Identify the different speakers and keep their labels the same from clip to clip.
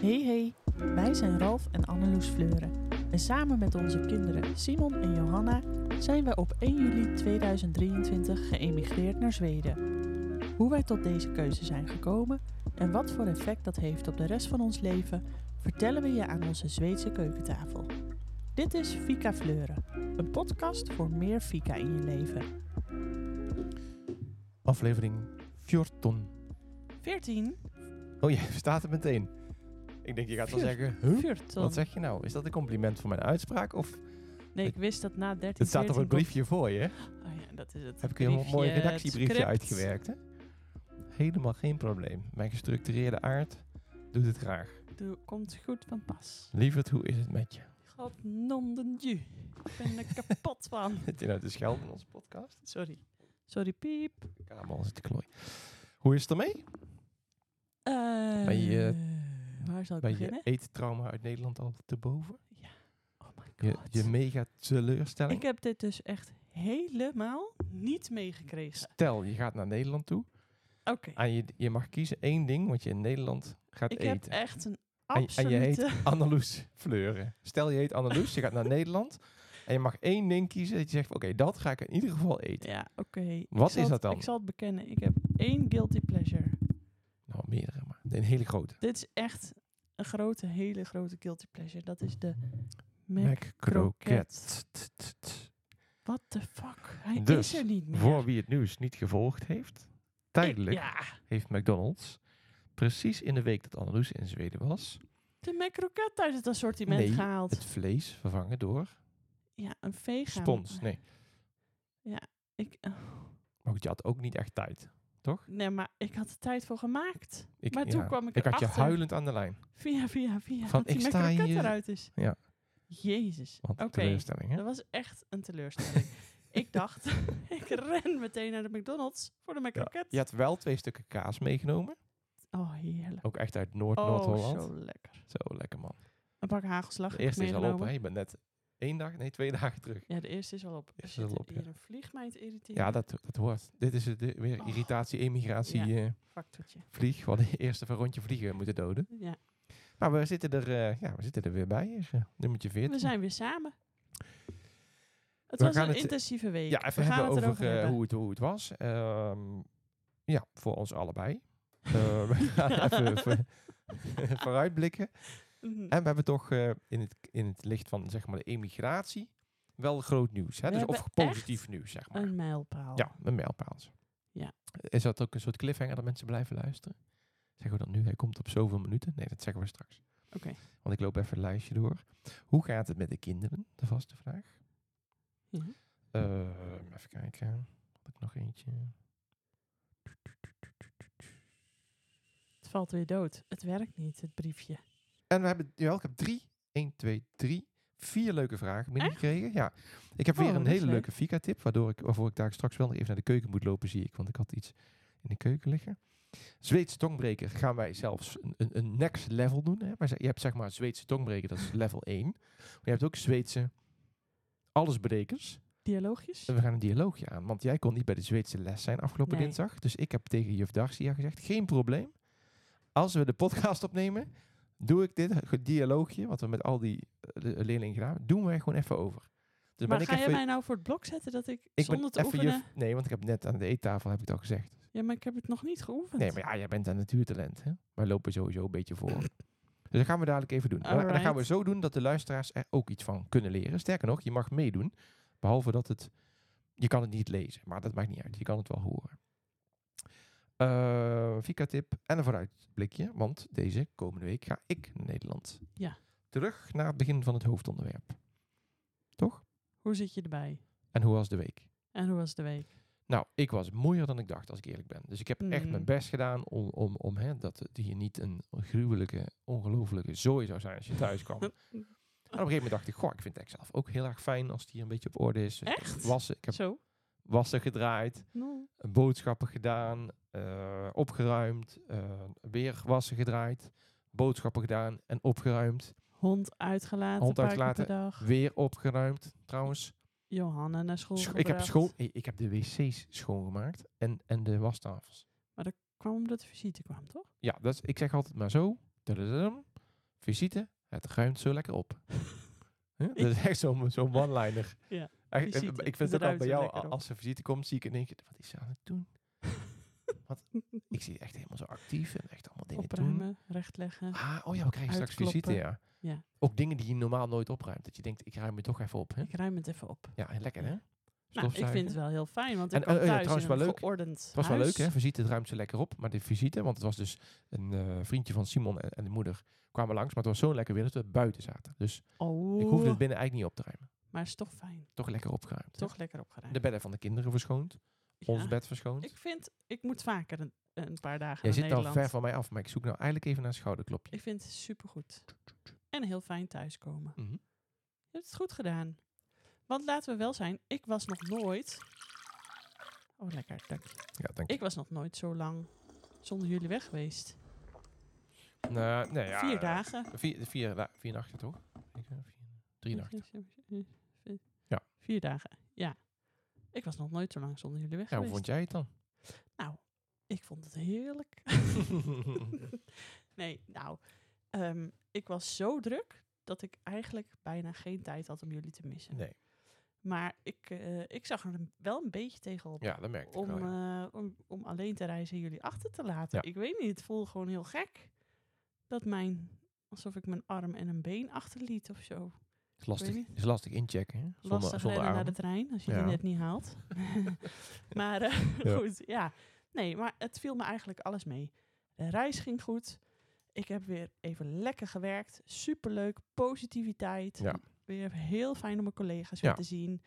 Speaker 1: Hey hey, wij zijn Ralf en Anneloes Fleuren. En samen met onze kinderen Simon en Johanna zijn wij op 1 juli 2023 geëmigreerd naar Zweden. Hoe wij tot deze keuze zijn gekomen en wat voor effect dat heeft op de rest van ons leven, vertellen we je aan onze Zweedse keukentafel. Dit is Fika Fleuren, een podcast voor meer Fika in je leven.
Speaker 2: Aflevering 14.
Speaker 1: 14?
Speaker 2: Oh, je staat er meteen. Ik denk, je gaat wel
Speaker 1: Vier-
Speaker 2: zeggen, huh?
Speaker 1: 14.
Speaker 2: Wat zeg je nou? Is dat een compliment voor mijn uitspraak? Of
Speaker 1: Nee, ik wist dat na 13
Speaker 2: het staat op een briefje voor je. hè?
Speaker 1: Oh ja, dat is het.
Speaker 2: Heb ik een heel
Speaker 1: Briefje, eh,
Speaker 2: mooi
Speaker 1: het
Speaker 2: redactiebriefje
Speaker 1: script.
Speaker 2: uitgewerkt. Hè? Helemaal geen probleem. Mijn gestructureerde aard doet het graag.
Speaker 1: Doe- Komt goed van pas.
Speaker 2: Lieverd, hoe is het met je?
Speaker 1: God nondendje. Ik ben er kapot van.
Speaker 2: Zit je nou te schelden in onze podcast?
Speaker 1: Sorry. Sorry, piep.
Speaker 2: De kamer zit te klooien. Hoe is het ermee?
Speaker 1: Eh,
Speaker 2: Ben je,
Speaker 1: waar zal ik
Speaker 2: Bij je
Speaker 1: beginnen?
Speaker 2: eettrauma uit Nederland al te boven?
Speaker 1: oh my
Speaker 2: Je,
Speaker 1: god.
Speaker 2: je mega teleurstelling?
Speaker 1: ik heb dit dus echt helemaal niet meegekregen.
Speaker 2: Stel, je gaat naar Nederland toe.
Speaker 1: Oké.
Speaker 2: Aan je, je mag kiezen één ding wat je in Nederland gaat
Speaker 1: Ik heb
Speaker 2: eten.
Speaker 1: echt een
Speaker 2: En- en je heet-
Speaker 1: absolute...
Speaker 2: Anneloes Fleuren. Stel je heet Anneloes, je gaat naar Nederland en je mag één ding kiezen dat je zegt, oké, dat ga ik in ieder geval eten.
Speaker 1: Ja, oké. Ik
Speaker 2: Wat
Speaker 1: zal
Speaker 2: is
Speaker 1: het-
Speaker 2: dat dan?
Speaker 1: Ik zal het bekennen. Ik heb één guilty pleasure.
Speaker 2: Nou, meerdere, maar een hele grote.
Speaker 1: Dit is echt een grote, hele grote guilty pleasure. Dat is de Mac.
Speaker 2: Mac
Speaker 1: croquette.
Speaker 2: croquette. T, t, t.
Speaker 1: What the fuck? Hij
Speaker 2: Dus,
Speaker 1: is er niet meer.
Speaker 2: Voor wie het nieuws niet gevolgd heeft, tijdelijk
Speaker 1: Ik- ja,
Speaker 2: heeft McDonald's, precies in de week dat Anneloes in Zweden was,
Speaker 1: de macroket uit het assortiment
Speaker 2: Nee,
Speaker 1: gehaald.
Speaker 2: het vlees vervangen door
Speaker 1: Ja, een vegan.
Speaker 2: spons. Nee,
Speaker 1: Ik, eh,
Speaker 2: maar goed, je had ook niet echt tijd.
Speaker 1: nee, maar ik had er tijd voor gemaakt.
Speaker 2: Ik,
Speaker 1: Maar toen
Speaker 2: ja,
Speaker 1: kwam ik
Speaker 2: ik had je
Speaker 1: erachter.
Speaker 2: huilend aan de lijn.
Speaker 1: Via, via, via.
Speaker 2: Van,
Speaker 1: dat die
Speaker 2: ik sta
Speaker 1: macroket
Speaker 2: hier-
Speaker 1: eruit is.
Speaker 2: Ja.
Speaker 1: Jezus.
Speaker 2: Want
Speaker 1: Oké,
Speaker 2: teleurstelling, hè?
Speaker 1: dat was echt een teleurstelling. ik dacht, ik ren meteen naar de McDonald's voor de macroket.
Speaker 2: Je had wel twee stukken kaas meegenomen.
Speaker 1: Oh, heerlijk.
Speaker 2: Ook echt uit Noord-
Speaker 1: Oh,
Speaker 2: Noord-Holland.
Speaker 1: zo lekker.
Speaker 2: Zo lekker man.
Speaker 1: Een pak hagelslag.
Speaker 2: De eerste is al op,
Speaker 1: meegenomen.
Speaker 2: hè? Je bent net één dag, nee, twee dagen terug.
Speaker 1: Ja, de eerste is al op. Er
Speaker 2: Eerste is al
Speaker 1: zit
Speaker 2: op, ja.
Speaker 1: hier een vlieg mij te irriteren.
Speaker 2: Ja, dat, dat hoort. Dit is het, eh, weer
Speaker 1: Oh.
Speaker 2: irritatie, emigratie, eh,
Speaker 1: Factortje.
Speaker 2: vlieg. We hadden eerst even een rondje vliegen moeten doden.
Speaker 1: Ja.
Speaker 2: Maar we zitten er, eh, ja, we zitten er weer bij. eh, nummertje 14.
Speaker 1: We zijn weer samen. Het
Speaker 2: We
Speaker 1: was
Speaker 2: gaan
Speaker 1: een
Speaker 2: het-
Speaker 1: intensieve week.
Speaker 2: ja, even
Speaker 1: we gaan
Speaker 2: hebben
Speaker 1: het erover
Speaker 2: over, eh,
Speaker 1: hebben.
Speaker 2: hoe, het, hoe het was. Ehm, ja, voor ons allebei. Eh, we gaan even voor- vooruitblikken.
Speaker 1: Mhm.
Speaker 2: En we hebben toch eh, in, het, in het licht van zeg maar, de emigratie wel groot nieuws. Hè?
Speaker 1: We
Speaker 2: Dus
Speaker 1: hebben
Speaker 2: of positief
Speaker 1: echt
Speaker 2: nieuws, zeg maar.
Speaker 1: Een mijlpaal.
Speaker 2: Ja, een mijlpaal.
Speaker 1: Ja.
Speaker 2: Is dat ook een soort cliffhanger dat mensen blijven luisteren? Zeggen we dat nu? Hij komt op zoveel minuten? Nee, dat zeggen we straks.
Speaker 1: Oké.
Speaker 2: Want ik loop even het lijstje door. Hoe gaat het met de kinderen? De vaste vraag.
Speaker 1: Ja.
Speaker 2: Ehm, even kijken. Had ik nog eentje?
Speaker 1: Het valt weer dood. Het werkt niet, het briefje.
Speaker 2: En we hebben, jawel, ik heb drie, 1, 2, 3, vier leuke vragen binnengekregen. Ja, ik heb
Speaker 1: Oh,
Speaker 2: weer een
Speaker 1: dat is
Speaker 2: hele
Speaker 1: leuk.
Speaker 2: leuke Fika-tip, waardoor ik, waarvoor ik daar straks wel nog even naar de keuken moet lopen, zie ik. Want ik had iets in de keuken liggen. Zweedse tongbreker gaan wij zelfs een, een, een next level doen. Hè? Maar ze- je hebt zeg maar Zweedse tongbreker, dat is level 1. Maar je hebt ook Zweedse allesbrekers.
Speaker 1: Dialoogjes?
Speaker 2: En we gaan een dialoogje aan. Want jij kon niet bij de Zweedse les zijn afgelopen
Speaker 1: Nee.
Speaker 2: dinsdag. Dus ik heb tegen juf Darcia gezegd, geen probleem. Als we de podcast opnemen, doe ik dit ge- dialoogje, wat we met al die eh, le- leerlingen gedaan hebben, doen wij gewoon even over. Dus
Speaker 1: maar
Speaker 2: ben
Speaker 1: ga
Speaker 2: ik
Speaker 1: jij
Speaker 2: even-
Speaker 1: mij nou voor het blok zetten dat ik,
Speaker 2: ik ben
Speaker 1: zonder te
Speaker 2: even
Speaker 1: oefenen...
Speaker 2: juf- nee, want ik heb net aan de eettafel, heb ik het al gezegd.
Speaker 1: Ja, maar ik heb het nog niet geoefend.
Speaker 2: Nee, maar ja, jij bent een natuurtalent, hè? Wij lopen sowieso een beetje voor. dus dat gaan we dadelijk even doen. En dan gaan we
Speaker 1: Alright.
Speaker 2: zo doen dat de luisteraars er ook iets van kunnen leren. Sterker nog, je mag meedoen. Behalve dat het... Je kan het niet lezen, maar dat maakt niet uit. Je kan het wel horen. Eh Fika-tip en een vooruitblikje. Want deze komende week ga ik naar Nederland.
Speaker 1: Ja.
Speaker 2: Terug naar het begin van het hoofdonderwerp. Toch?
Speaker 1: Hoe zit je erbij?
Speaker 2: En hoe was de week?
Speaker 1: En hoe was de week?
Speaker 2: Nou, ik was moeier dan ik dacht, als ik eerlijk ben. Dus ik heb echt
Speaker 1: Mm.
Speaker 2: mijn best gedaan om, om, om hè, dat het hier niet een gruwelijke, ongelofelijke zooi zou zijn als je thuis kwam. en op een gegeven moment dacht ik, goh, ik vind het echt zelf ook heel erg fijn als het hier een beetje op orde is. Dus ik heb
Speaker 1: Echt?
Speaker 2: Wassen, ik heb
Speaker 1: Zo?
Speaker 2: wassen gedraaid,
Speaker 1: Nou,
Speaker 2: boodschappen gedaan, eh, opgeruimd, eh, weer wassen gedraaid, boodschappen gedaan en opgeruimd.
Speaker 1: Hond uitgelaten,
Speaker 2: Hond
Speaker 1: een paar keer
Speaker 2: uitgelaten.
Speaker 1: per dag.
Speaker 2: Weer opgeruimd, trouwens.
Speaker 1: Johanna naar school
Speaker 2: Scho- ik, heb
Speaker 1: gebracht.
Speaker 2: schoon, ik heb de wc's schoongemaakt en, en de wastafels.
Speaker 1: Kwam omdat de visite kwam, toch?
Speaker 2: Ja, dat is, ik zeg altijd maar zo. Tududum. visite, het ruimt zo lekker op. Huh? Dat is echt zo'n zo'n one-liner.
Speaker 1: Ja,
Speaker 2: Echt,
Speaker 1: visite,
Speaker 2: eh, ik
Speaker 1: het
Speaker 2: vind dat al
Speaker 1: ruimt
Speaker 2: bij
Speaker 1: zo
Speaker 2: jou,
Speaker 1: lekker
Speaker 2: a-
Speaker 1: op.
Speaker 2: als er visite komt, zie ik in één keer, wat is ze aan het doen? Wat? Ik zie echt helemaal zo actief en echt allemaal dingen doen.
Speaker 1: Opruimen, rechtleggen.
Speaker 2: Ah, oh ja, we krijgen straks visite,
Speaker 1: Uitkloppen.
Speaker 2: ja.
Speaker 1: Ja.
Speaker 2: Ook dingen die je normaal nooit opruimt. Dat je denkt, ik ruim het toch even op, hè?
Speaker 1: Ik ruim het even op.
Speaker 2: Ja, en lekker,
Speaker 1: Ja.
Speaker 2: hè?
Speaker 1: Nou, ik
Speaker 2: Stofzuigen.
Speaker 1: vind het wel heel fijn, want ik
Speaker 2: En,
Speaker 1: kwam
Speaker 2: oh ja,
Speaker 1: thuis
Speaker 2: trouwens
Speaker 1: in een
Speaker 2: wel leuk.
Speaker 1: geordend
Speaker 2: Het was wel
Speaker 1: huis.
Speaker 2: leuk, hè? Visite, het ruimt ze lekker op. Maar de visite, want het was dus een eh, vriendje van Simon en, en de moeder kwamen langs. Maar het was zo lekker weer dat we buiten zaten. Dus
Speaker 1: Oh,
Speaker 2: ik hoefde het binnen eigenlijk niet op te ruimen.
Speaker 1: maar is toch fijn.
Speaker 2: Toch lekker opgeruimd. hè?
Speaker 1: Toch lekker opgeruimd.
Speaker 2: De bedden van de kinderen verschoond. Ons
Speaker 1: Ja.
Speaker 2: bed verschoond.
Speaker 1: Ik vind, ik moet vaker een, een paar dagen
Speaker 2: Jij
Speaker 1: naar
Speaker 2: zit al
Speaker 1: Nederland.
Speaker 2: ver van mij af, maar ik zoek nou eigenlijk even naar een schouderklopje.
Speaker 1: Ik vind het supergoed. En heel fijn thuiskomen.
Speaker 2: Mhm.
Speaker 1: Je hebt het goed gedaan. Want laten we wel zijn, ik was nog nooit... Oh, lekker, dank je.
Speaker 2: Ja, dank je.
Speaker 1: Ik was nog nooit zo lang zonder jullie weg geweest.
Speaker 2: Nou, nee, ja,
Speaker 1: Vier
Speaker 2: eh,
Speaker 1: dagen.
Speaker 2: Vier, vier, da- vier nachten, toch? Ik, eh, vier- drie nachten. Ja.
Speaker 1: Vier dagen, ja. Ik was nog nooit zo lang zonder jullie weg
Speaker 2: Ja, hoe
Speaker 1: geweest.
Speaker 2: vond jij het dan?
Speaker 1: Nou, ik vond het heerlijk. nee, nou, ehm, ik was zo druk dat ik eigenlijk bijna geen tijd had om jullie te missen.
Speaker 2: nee.
Speaker 1: Maar ik, eh, ik zag er een- wel een beetje tegen op
Speaker 2: Ja, dat merkte ik
Speaker 1: om,
Speaker 2: wel. ja.
Speaker 1: eh, om, om alleen te reizen en jullie achter te laten.
Speaker 2: Ja.
Speaker 1: Ik weet niet, het voelde gewoon heel gek. Dat mijn, alsof ik mijn arm en een been achterliet of zo.
Speaker 2: Is lastig,
Speaker 1: weet niet.
Speaker 2: is lastig inchecken, hè? Zonder,
Speaker 1: Lastig
Speaker 2: zonder
Speaker 1: rennen naar
Speaker 2: armen.
Speaker 1: de trein als je die
Speaker 2: Ja.
Speaker 1: net niet haalt. maar eh,
Speaker 2: Ja.
Speaker 1: goed, ja. Nee, maar het viel me eigenlijk alles mee. De reis ging goed. Ik heb weer even lekker gewerkt. Superleuk. Positiviteit.
Speaker 2: Ja.
Speaker 1: Weer heel fijn om mijn collega's weer
Speaker 2: Ja.
Speaker 1: te zien.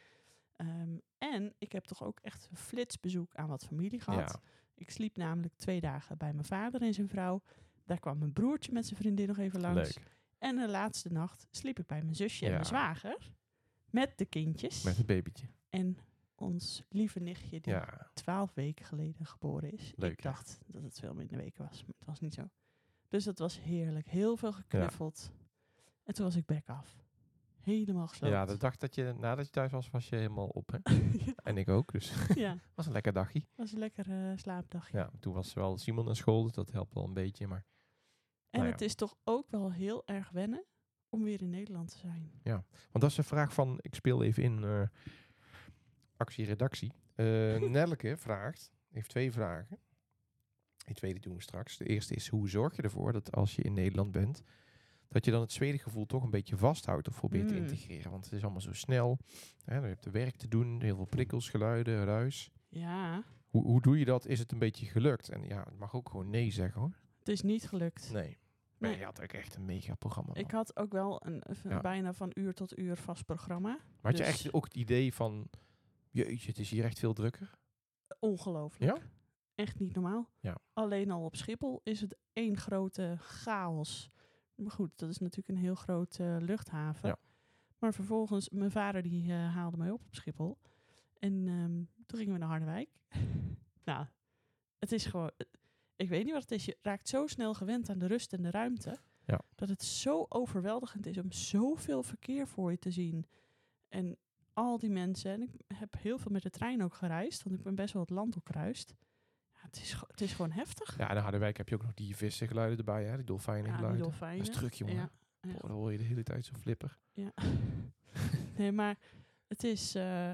Speaker 1: Ehm, en ik heb toch ook echt een flitsbezoek aan wat familie gehad.
Speaker 2: Ja.
Speaker 1: Ik sliep namelijk twee dagen bij mijn vader en zijn vrouw. Daar kwam mijn broertje met zijn vriendin nog even langs.
Speaker 2: Leuk.
Speaker 1: En de laatste nacht sliep ik bij mijn zusje en
Speaker 2: Ja.
Speaker 1: mijn zwager. Met de kindjes.
Speaker 2: Met het babytje.
Speaker 1: En ons lieve nichtje die
Speaker 2: Ja.
Speaker 1: twaalf weken geleden geboren is.
Speaker 2: Leuk,
Speaker 1: ik
Speaker 2: hè?
Speaker 1: dacht dat het veel minder weken was, maar het was niet zo. Dus dat was heerlijk. Heel veel geknuffeld. En toen was ik back af. Helemaal gesloopt.
Speaker 2: ja, de dag dat je, nadat je thuis was, was je helemaal op, hè? En ik ook, dus
Speaker 1: ja,
Speaker 2: was een lekker dagje.
Speaker 1: was een lekker eh, slaapdagje.
Speaker 2: Ja, toen was wel Simon naar school, dus dat helpt wel een beetje, maar
Speaker 1: En
Speaker 2: nou ja.
Speaker 1: het is toch ook wel heel erg wennen om weer in Nederland te zijn.
Speaker 2: Want dat is de vraag van, ik speel even in eh, actie-redactie. Eh, Nelke vraagt, heeft twee vragen. Die tweede doen we straks. De eerste is, hoe zorg je ervoor dat als je in Nederland bent, dat je dan het tweede gevoel toch een beetje vasthoudt of probeert te
Speaker 1: Hmm.
Speaker 2: integreren? Want het is allemaal zo snel. Hè, je hebt er werk te doen, heel veel prikkels, geluiden, ruis.
Speaker 1: Ja,
Speaker 2: Hoe, hoe doe je dat? Is het een beetje gelukt? En ja, het mag ook gewoon nee zeggen hoor.
Speaker 1: het is niet gelukt.
Speaker 2: Nee. Maar
Speaker 1: Nee.
Speaker 2: je had ook echt een mega programma.
Speaker 1: Ik had ook wel een, een
Speaker 2: Ja.
Speaker 1: bijna van uur tot uur vast programma.
Speaker 2: maar had je
Speaker 1: dus-
Speaker 2: echt ook het idee van, jeetje, het is hier echt veel drukker?
Speaker 1: Ongelooflijk.
Speaker 2: Ja?
Speaker 1: Echt niet normaal.
Speaker 2: Ja.
Speaker 1: Alleen al op Schiphol is het één grote chaos. Maar goed, dat is natuurlijk een heel grote eh, luchthaven.
Speaker 2: Ja.
Speaker 1: Maar vervolgens, mijn vader die eh, haalde mij op op Schiphol. En ehm, toen gingen we naar Harderwijk. nou, het is gewoon... eh, Ik weet niet wat het is. Je raakt zo snel gewend aan de rust en de ruimte.
Speaker 2: Ja.
Speaker 1: Dat het zo overweldigend is om zoveel verkeer voor je te zien. En al die mensen. En ik heb heel veel met de trein ook gereisd, want ik ben best wel het land doorkruist. Ja, het, is, ge- het is gewoon heftig.
Speaker 2: Ja, in Harderwijk heb je ook nog die vissengeluiden erbij, hè? Die dolfijnen
Speaker 1: Ja, die
Speaker 2: geluiden.
Speaker 1: dolfijnen.
Speaker 2: Dat is druk, jongen.
Speaker 1: Ja,
Speaker 2: Boah, dan hoor je de hele tijd zo'n flipper.
Speaker 1: ja. nee, maar het is, eh,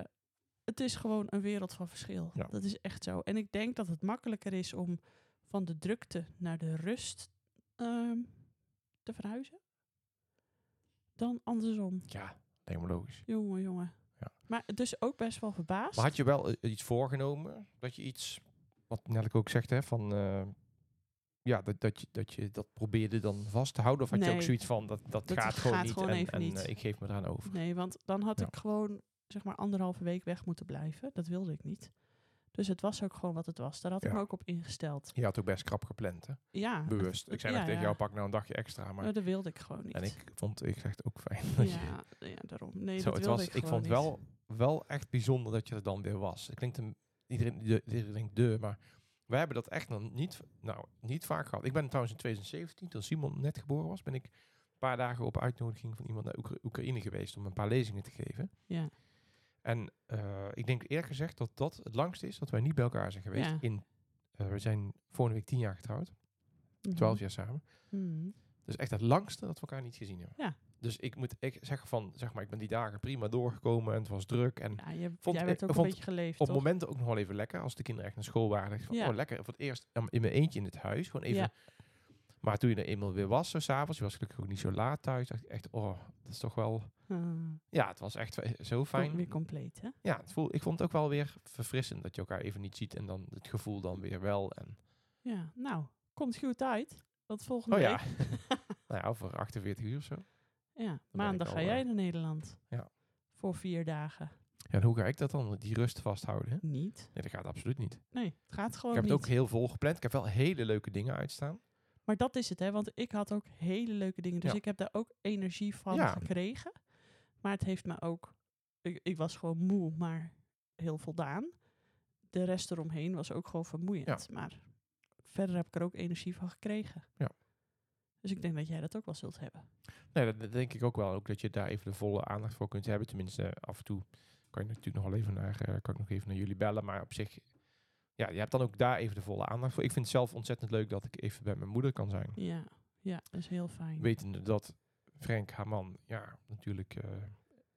Speaker 1: het is gewoon een wereld van verschil.
Speaker 2: Ja.
Speaker 1: Dat is echt zo. En ik denk dat het makkelijker is om van de drukte naar de rust ehm, te verhuizen. Dan andersom.
Speaker 2: Ja, helemaal logisch.
Speaker 1: Jongen, jongen.
Speaker 2: Ja.
Speaker 1: Maar dus ook best wel verbaasd.
Speaker 2: Maar had je wel eh, iets voorgenomen? Dat je iets, wat Nelke ook zegt, hè? Van, eh, ja, dat, dat, je, dat je dat probeerde dan vast te houden? Of had je ook
Speaker 1: Nee.
Speaker 2: zoiets van, dat, dat,
Speaker 1: Dat
Speaker 2: gaat gewoon
Speaker 1: gaat
Speaker 2: niet
Speaker 1: gewoon
Speaker 2: en,
Speaker 1: even
Speaker 2: en,
Speaker 1: niet.
Speaker 2: eh, ik geef me eraan over?
Speaker 1: Nee, want dan had
Speaker 2: Ja.
Speaker 1: ik gewoon zeg maar anderhalve week weg moeten blijven. Dat wilde ik niet. Dus het was ook gewoon wat het was. Daar had ik
Speaker 2: Ja.
Speaker 1: me ook op ingesteld.
Speaker 2: Je had ook best krap gepland, hè?
Speaker 1: Ja,
Speaker 2: Bewust. Ik zei nog
Speaker 1: ja,
Speaker 2: tegen
Speaker 1: ja.
Speaker 2: jou, pak nou een dagje extra. Maar,
Speaker 1: maar dat wilde ik gewoon niet.
Speaker 2: en ik vond ik echt ook fijn. dat je-
Speaker 1: ja, ja, daarom. Nee,
Speaker 2: Zo,
Speaker 1: dat
Speaker 2: het
Speaker 1: wilde
Speaker 2: was,
Speaker 1: ik
Speaker 2: ik,
Speaker 1: gewoon
Speaker 2: vond
Speaker 1: niet.
Speaker 2: wel, wel echt bijzonder dat je er dan weer was. Het klinkt een, iedereen, de, iedereen denkt de, maar wij hebben dat echt nog niet, nou, niet vaak gehad. Ik ben trouwens in 2017, toen Simon net geboren was, ben ik een paar dagen op uitnodiging van iemand naar Oekra- Oekraïne geweest om een paar lezingen te geven.
Speaker 1: Ja.
Speaker 2: En eh, ik denk eerlijk gezegd dat dat het langste is dat wij niet bij elkaar zijn geweest.
Speaker 1: Ja.
Speaker 2: In, eh, we zijn vorige week tien jaar getrouwd, twaalf jaar samen.
Speaker 1: Mhm.
Speaker 2: Dus echt het langste dat we elkaar niet gezien hebben.
Speaker 1: Ja.
Speaker 2: Dus ik moet ik zeggen van, zeg maar, ik ben die dagen prima doorgekomen en het was druk. En
Speaker 1: Ja, je,
Speaker 2: Vond-
Speaker 1: jij werd
Speaker 2: eh,
Speaker 1: ook een
Speaker 2: vond-
Speaker 1: beetje geleefd,
Speaker 2: op
Speaker 1: toch?
Speaker 2: momenten ook nog wel even lekker. Als de kinderen echt naar school waren. Dacht ik van,
Speaker 1: Ja.
Speaker 2: oh, lekker. Voor het eerst um, in mijn eentje in het huis. Gewoon even.
Speaker 1: Ja.
Speaker 2: Maar toen je er eenmaal weer was, zo s'avonds. Je was gelukkig ook niet zo laat thuis. Dacht ik echt, oh, dat is toch wel...
Speaker 1: Ah,
Speaker 2: Ja, het was echt eh, zo
Speaker 1: fijn.
Speaker 2: fijn.
Speaker 1: Weer compleet, hè?
Speaker 2: Ja, het voel, ik vond het ook wel weer verfrissend dat je elkaar even niet ziet. En dan het gevoel dan weer wel. En,
Speaker 1: Ja, nou, komt goed uit. Tot volgende
Speaker 2: oh ja.
Speaker 1: week.
Speaker 2: nou ja, over 48 uur of zo.
Speaker 1: Ja, maandag
Speaker 2: al,
Speaker 1: ga
Speaker 2: eh,
Speaker 1: jij naar Nederland.
Speaker 2: ja.
Speaker 1: Voor vier dagen.
Speaker 2: Ja, en hoe ga ik dat dan? Die rust vasthouden? hè?
Speaker 1: Niet.
Speaker 2: Nee, dat gaat absoluut niet.
Speaker 1: Nee, het gaat gewoon
Speaker 2: ik heb
Speaker 1: niet.
Speaker 2: het ook heel vol gepland. Ik heb wel hele leuke dingen uitstaan.
Speaker 1: Maar dat is het, hè? Want ik had ook hele leuke dingen. Dus
Speaker 2: Ja.
Speaker 1: ik heb daar ook energie van
Speaker 2: Ja.
Speaker 1: gekregen. Maar het heeft me ook. Ik, ik was gewoon moe, maar heel voldaan. De rest eromheen was ook gewoon vermoeiend. Maar verder heb ik er ook energie van gekregen.
Speaker 2: Ja.
Speaker 1: Dus ik denk dat jij dat ook wel zult hebben.
Speaker 2: Nee, dat, dat denk ik ook wel. Ook dat je daar even de volle aandacht voor kunt hebben. Tenminste, eh, af en toe kan je natuurlijk nog wel even naar, eh, kan ik nog even naar jullie bellen. Maar op zich, ja, je hebt dan ook daar even de volle aandacht voor. Ik vind het zelf ontzettend leuk dat ik even bij mijn moeder kan zijn.
Speaker 1: Ja, ja dat is heel fijn.
Speaker 2: Wetende dat Frank, haar man, ja, natuurlijk eh,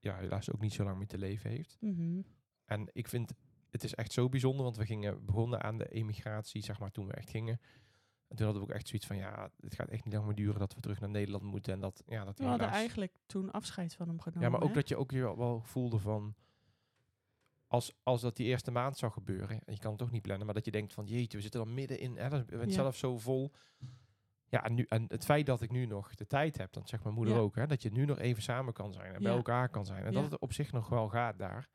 Speaker 2: ja, helaas ook niet zo lang meer te leven heeft.
Speaker 1: Mhm.
Speaker 2: En ik vind, het is echt zo bijzonder, want we gingen begonnen aan de emigratie, zeg maar, toen we echt gingen. En toen hadden we ook echt zoiets van, ja, het gaat echt niet lang meer duren dat we terug naar Nederland moeten. En dat, ja, dat
Speaker 1: We hadden
Speaker 2: helaas-
Speaker 1: eigenlijk toen afscheid van hem genomen.
Speaker 2: Ja, maar ook
Speaker 1: hè?
Speaker 2: dat je ook weer wel- wel voelde van... Als, als dat die eerste maand zou gebeuren, en je kan het ook niet plannen, maar dat je denkt van jeetje, we zitten dan middenin, hè, dat is- we zijn
Speaker 1: Ja.
Speaker 2: zelf zo vol. Ja, en, nu, en het feit dat ik nu nog de tijd heb, dat zegt mijn moeder
Speaker 1: Ja.
Speaker 2: ook, hè, dat je nu nog even samen kan zijn en bij
Speaker 1: Ja.
Speaker 2: elkaar kan zijn. En
Speaker 1: Ja.
Speaker 2: dat het op zich nog wel gaat daar,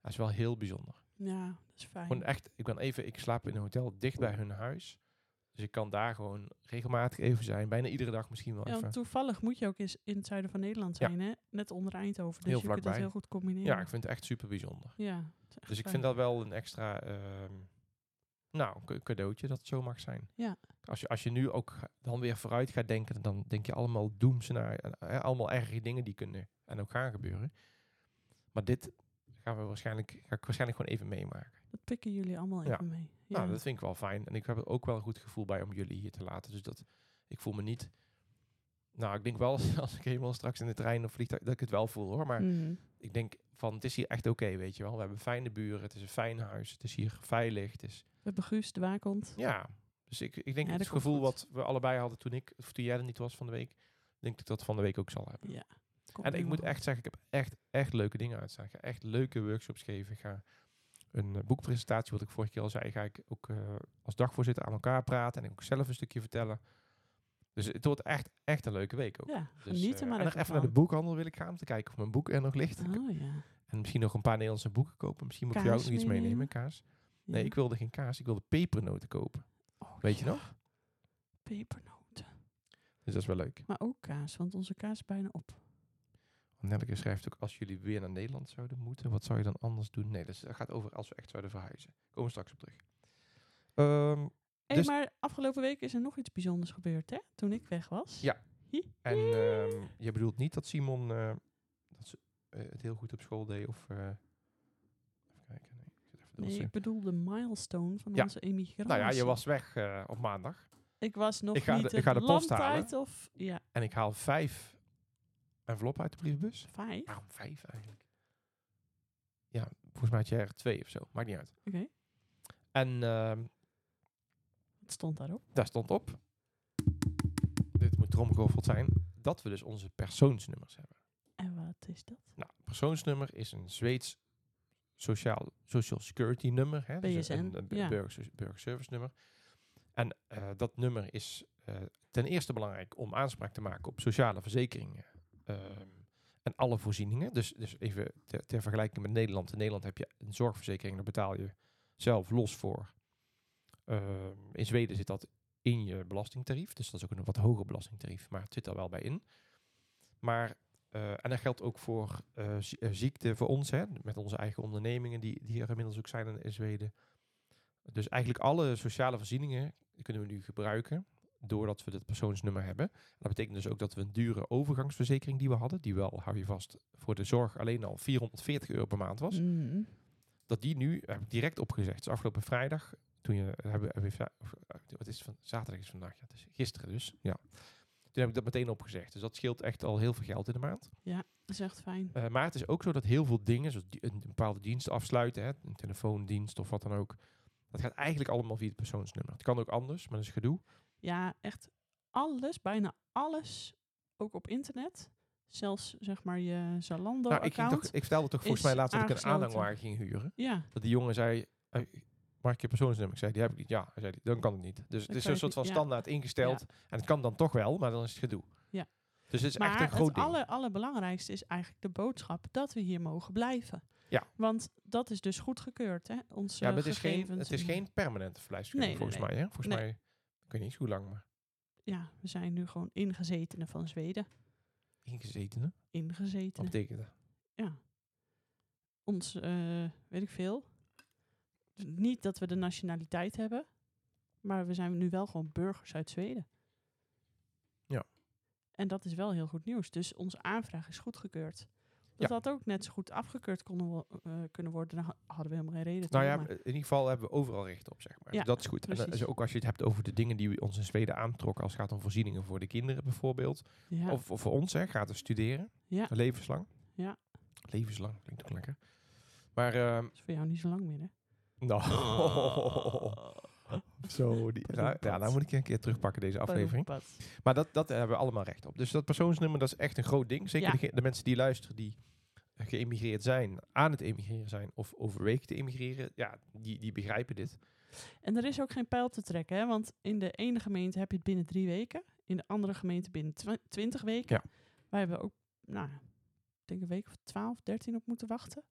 Speaker 2: dat is wel heel bijzonder.
Speaker 1: Ja, dat is fijn.
Speaker 2: Gewoon echt, ik ben even, ik slaap in een hotel dicht bij hun huis. Dus ik kan daar gewoon regelmatig even zijn, bijna iedere dag misschien wel
Speaker 1: Ja,
Speaker 2: even.
Speaker 1: want toevallig moet je ook eens in het zuiden van Nederland
Speaker 2: Ja.
Speaker 1: zijn, hè? Net onder Eindhoven. Dus
Speaker 2: Heel
Speaker 1: je kunt dat
Speaker 2: vlakbij.
Speaker 1: heel goed combineren.
Speaker 2: Ja, ik vind het echt super bijzonder.
Speaker 1: Ja, het is echt
Speaker 2: Dus ik
Speaker 1: fijn.
Speaker 2: vind dat wel een extra ehm, nou, een cadeautje dat het zo mag zijn.
Speaker 1: Ja.
Speaker 2: Als, je, als je nu ook ga- dan weer vooruit gaat denken, dan denk je allemaal doemscenario's. eh, Allemaal erge dingen die kunnen en ook gaan gebeuren. Maar dit gaan we waarschijnlijk, ga ik waarschijnlijk gewoon even meemaken.
Speaker 1: Dat pikken jullie allemaal
Speaker 2: Ja.
Speaker 1: even mee. Ja.
Speaker 2: Nou, dat vind ik wel fijn. En ik heb er ook wel een goed gevoel bij om jullie hier te laten. Dus dat, ik voel me niet... Nou, ik denk wel als, als ik helemaal straks in de trein of vliegtuig, dat ik het wel voel hoor. Maar
Speaker 1: Mhm.
Speaker 2: ik denk van, het is hier echt oké, weet je wel. We hebben fijne buren, het is een fijn huis, het is hier veilig, het is...
Speaker 1: We hebben Guus de Waakhond.
Speaker 2: Ja, dus ik, ik denk
Speaker 1: Ja,
Speaker 2: het
Speaker 1: dat komt
Speaker 2: gevoel
Speaker 1: goed.
Speaker 2: wat we allebei hadden toen ik, of toen jij er niet was van de week, ik denk dat ik dat van de week ook zal hebben.
Speaker 1: Ja. Komt
Speaker 2: en ik
Speaker 1: helemaal
Speaker 2: moet echt zeggen, ik heb echt, echt leuke dingen uitstaan. Ik ga echt leuke workshops geven. Ik ga een eh, boekpresentatie, wat ik vorige keer al zei, ga ik ook eh, als dagvoorzitter aan elkaar praten en ook zelf een stukje vertellen. Dus het wordt echt, echt een leuke week ook.
Speaker 1: goed. Ja,
Speaker 2: Dus,
Speaker 1: geniet er
Speaker 2: eh,
Speaker 1: maar
Speaker 2: en nog
Speaker 1: even,
Speaker 2: even naar de
Speaker 1: van.
Speaker 2: boekhandel wil ik gaan om te kijken of mijn boek er nog ligt.
Speaker 1: Oh ja.
Speaker 2: En misschien nog een paar Nederlandse boeken kopen. Misschien moet ik voor jou
Speaker 1: Kaas
Speaker 2: ook nog iets meenemen,
Speaker 1: meenemen?
Speaker 2: kaas. Nee,
Speaker 1: Ja.
Speaker 2: ik wilde geen kaas, ik wilde pepernoten kopen.
Speaker 1: Oh,
Speaker 2: Weet je
Speaker 1: ja,
Speaker 2: nog?
Speaker 1: Pepernoten.
Speaker 2: Dus dat is wel leuk.
Speaker 1: Maar ook kaas, want onze kaas is bijna op.
Speaker 2: Want Nelke schrijft ook, als jullie weer naar Nederland zouden moeten, wat zou je dan anders doen? Nee, dat is- dat gaat over als we echt zouden verhuizen. Komen we straks op terug. Ehm,
Speaker 1: Hé,
Speaker 2: Dus-
Speaker 1: maar afgelopen week is er nog iets bijzonders gebeurd, hè? Toen ik weg was.
Speaker 2: Ja.
Speaker 1: Hi.
Speaker 2: en ehm, je bedoelt niet dat Simon eh, dat ze, eh, het heel goed op school deed of... eh, even kijken, nee, ik zit even door
Speaker 1: Nee,
Speaker 2: te-
Speaker 1: ik bedoel de milestone van
Speaker 2: Ja.
Speaker 1: onze emigratie.
Speaker 2: Nou ja, je was weg eh, op maandag
Speaker 1: Ik was nog
Speaker 2: Ik ga
Speaker 1: niet
Speaker 2: de- ik ga
Speaker 1: het
Speaker 2: de post
Speaker 1: land
Speaker 2: halen.
Speaker 1: uit of... Ja,
Speaker 2: en ik haal vijf enveloppen uit de brievenbus.
Speaker 1: vijf. Oké.
Speaker 2: Waarom vijf eigenlijk? Ja, volgens mij had je er twee of zo. Maakt niet uit. En ehm,
Speaker 1: Wat stond daarop?
Speaker 2: Daar stond op. Dit moet tromgeroffeld zijn. Dat we dus onze persoonsnummers hebben.
Speaker 1: En wat is dat?
Speaker 2: Nou, persoonsnummer is een Zweeds sociaal, social security nummer. Hè? Dus een-
Speaker 1: BSN,
Speaker 2: een,
Speaker 1: ja.
Speaker 2: burger, service nummer. En eh, dat nummer is eh, ten eerste belangrijk om aanspraak te maken op sociale verzekeringen. ehm, en alle voorzieningen. Dus, dus even ter, ter vergelijking met Nederland. In Nederland heb je een zorgverzekering, daar betaal je zelf los voor. Ehm, in Zweden zit dat in je belastingtarief. Dus dat is ook een wat hoger belastingtarief, maar het zit daar wel bij in. Maar, eh, en dat geldt ook voor eh, zie- eh, ziekte voor ons, hè, met onze eigen ondernemingen die, die er inmiddels ook zijn in, in Zweden. Dus eigenlijk alle sociale voorzieningen kunnen we nu gebruiken doordat we dit persoonsnummer hebben. Dat betekent dus ook dat we een dure overgangsverzekering die we hadden, die wel, hou je vast, voor de zorg alleen al 440 euro per maand was
Speaker 1: Mhm.
Speaker 2: dat die nu heb ik direct opgezegd. Dus afgelopen vrijdag, toen je hebben, hebben we vri- of, eh, wat is het van zaterdag is vandaag, ja, het is gisteren dus. Ja. Toen heb ik dat meteen opgezegd. Dus dat scheelt echt al heel veel geld in de maand.
Speaker 1: Dat is echt fijn.
Speaker 2: Eh, maar het is ook zo dat heel veel dingen, zoals die- een bepaalde dienst afsluiten, hè, een telefoondienst of wat dan ook, dat gaat eigenlijk allemaal via het persoonsnummer. Het kan ook anders, maar dat is gedoe.
Speaker 1: Ja, echt alles, bijna alles, ook op internet. Zelfs zeg maar je
Speaker 2: Nou, ik, ging
Speaker 1: Zalando-account.
Speaker 2: toch, ik vertelde toch volgens
Speaker 1: is
Speaker 2: mij laatst dat ik een
Speaker 1: aangesloten.
Speaker 2: aanhangwagen ging huren.
Speaker 1: ja,
Speaker 2: Dat die jongen zei, eh, mag ik je persoonsnummer? Ik zei, die heb ik niet. Ja, hij zei, dan kan het niet. Dus het
Speaker 1: kan
Speaker 2: is
Speaker 1: je
Speaker 2: een
Speaker 1: het
Speaker 2: soort van
Speaker 1: niet, ja.
Speaker 2: standaard ingesteld. En het kan dan toch wel, maar dan is het gedoe.
Speaker 1: Ja.
Speaker 2: Dus het is
Speaker 1: maar
Speaker 2: echt een groot
Speaker 1: het
Speaker 2: ding.
Speaker 1: aller, allerbelangrijkste is eigenlijk de boodschap dat we hier mogen blijven.
Speaker 2: Ja.
Speaker 1: Want dat is dus goedgekeurd, hè? Onze
Speaker 2: Ja, maar het is, geen,
Speaker 1: gegevens.
Speaker 2: het is geen permanente verblijfsvergunning
Speaker 1: Nee, nee,
Speaker 2: volgens
Speaker 1: nee.
Speaker 2: mij. Hè?
Speaker 1: Nee.
Speaker 2: Volgens mij, ik weet niet eens hoe lang, maar
Speaker 1: Ja, we zijn nu gewoon ingezetenen van Zweden.
Speaker 2: ingezetenen. Wat
Speaker 1: Ingezetenen.
Speaker 2: betekent dat?
Speaker 1: Ja. Ons, eh, weet ik veel. Niet dat we de nationaliteit hebben, maar we zijn nu wel gewoon burgers uit Zweden.
Speaker 2: Ja.
Speaker 1: En dat is wel heel goed nieuws. Dus onze aanvraag is goedgekeurd. Dat
Speaker 2: Ja.
Speaker 1: had ook net zo goed afgekeurd konden wo- eh, kunnen worden. Dan ha- hadden we helemaal geen reden toe.
Speaker 2: Nou ja,
Speaker 1: maar-
Speaker 2: in ieder geval hebben we overal recht op, zeg maar.
Speaker 1: Ja,
Speaker 2: dat is goed. En dat is
Speaker 1: precies.
Speaker 2: ook als je het hebt over de dingen die we ons in Zweden aantrokken, als het gaat om voorzieningen voor de kinderen bijvoorbeeld.
Speaker 1: ja.
Speaker 2: eh, Of, of voor ons, hè, gratis studeren.
Speaker 1: Ja.
Speaker 2: Levenslang.
Speaker 1: Ja.
Speaker 2: Levenslang, klinkt ook lekker. Maar, ehm,
Speaker 1: Dat is voor jou niet zo lang meer, hè?
Speaker 2: nou,
Speaker 1: Ah.
Speaker 2: zo. Die, nou, ja, nou moet ik je een keer terugpakken, deze aflevering.
Speaker 1: Padoepat.
Speaker 2: Maar dat, dat hebben we allemaal recht op. Dus dat persoonsnummer, dat is echt een groot ding. Zeker
Speaker 1: Ja.
Speaker 2: dege- de mensen die luisteren, die eh, geëmigreerd zijn, aan het emigreren zijn of overwegen te emigreren, ja, die, die begrijpen dit.
Speaker 1: En er is ook geen pijl te trekken, hè? Want in de ene gemeente heb je het binnen drie weken. In de andere gemeente binnen twa- twintig weken. Wij hebben ook, nou, ik denk een week of twaalf, dertien op moeten wachten.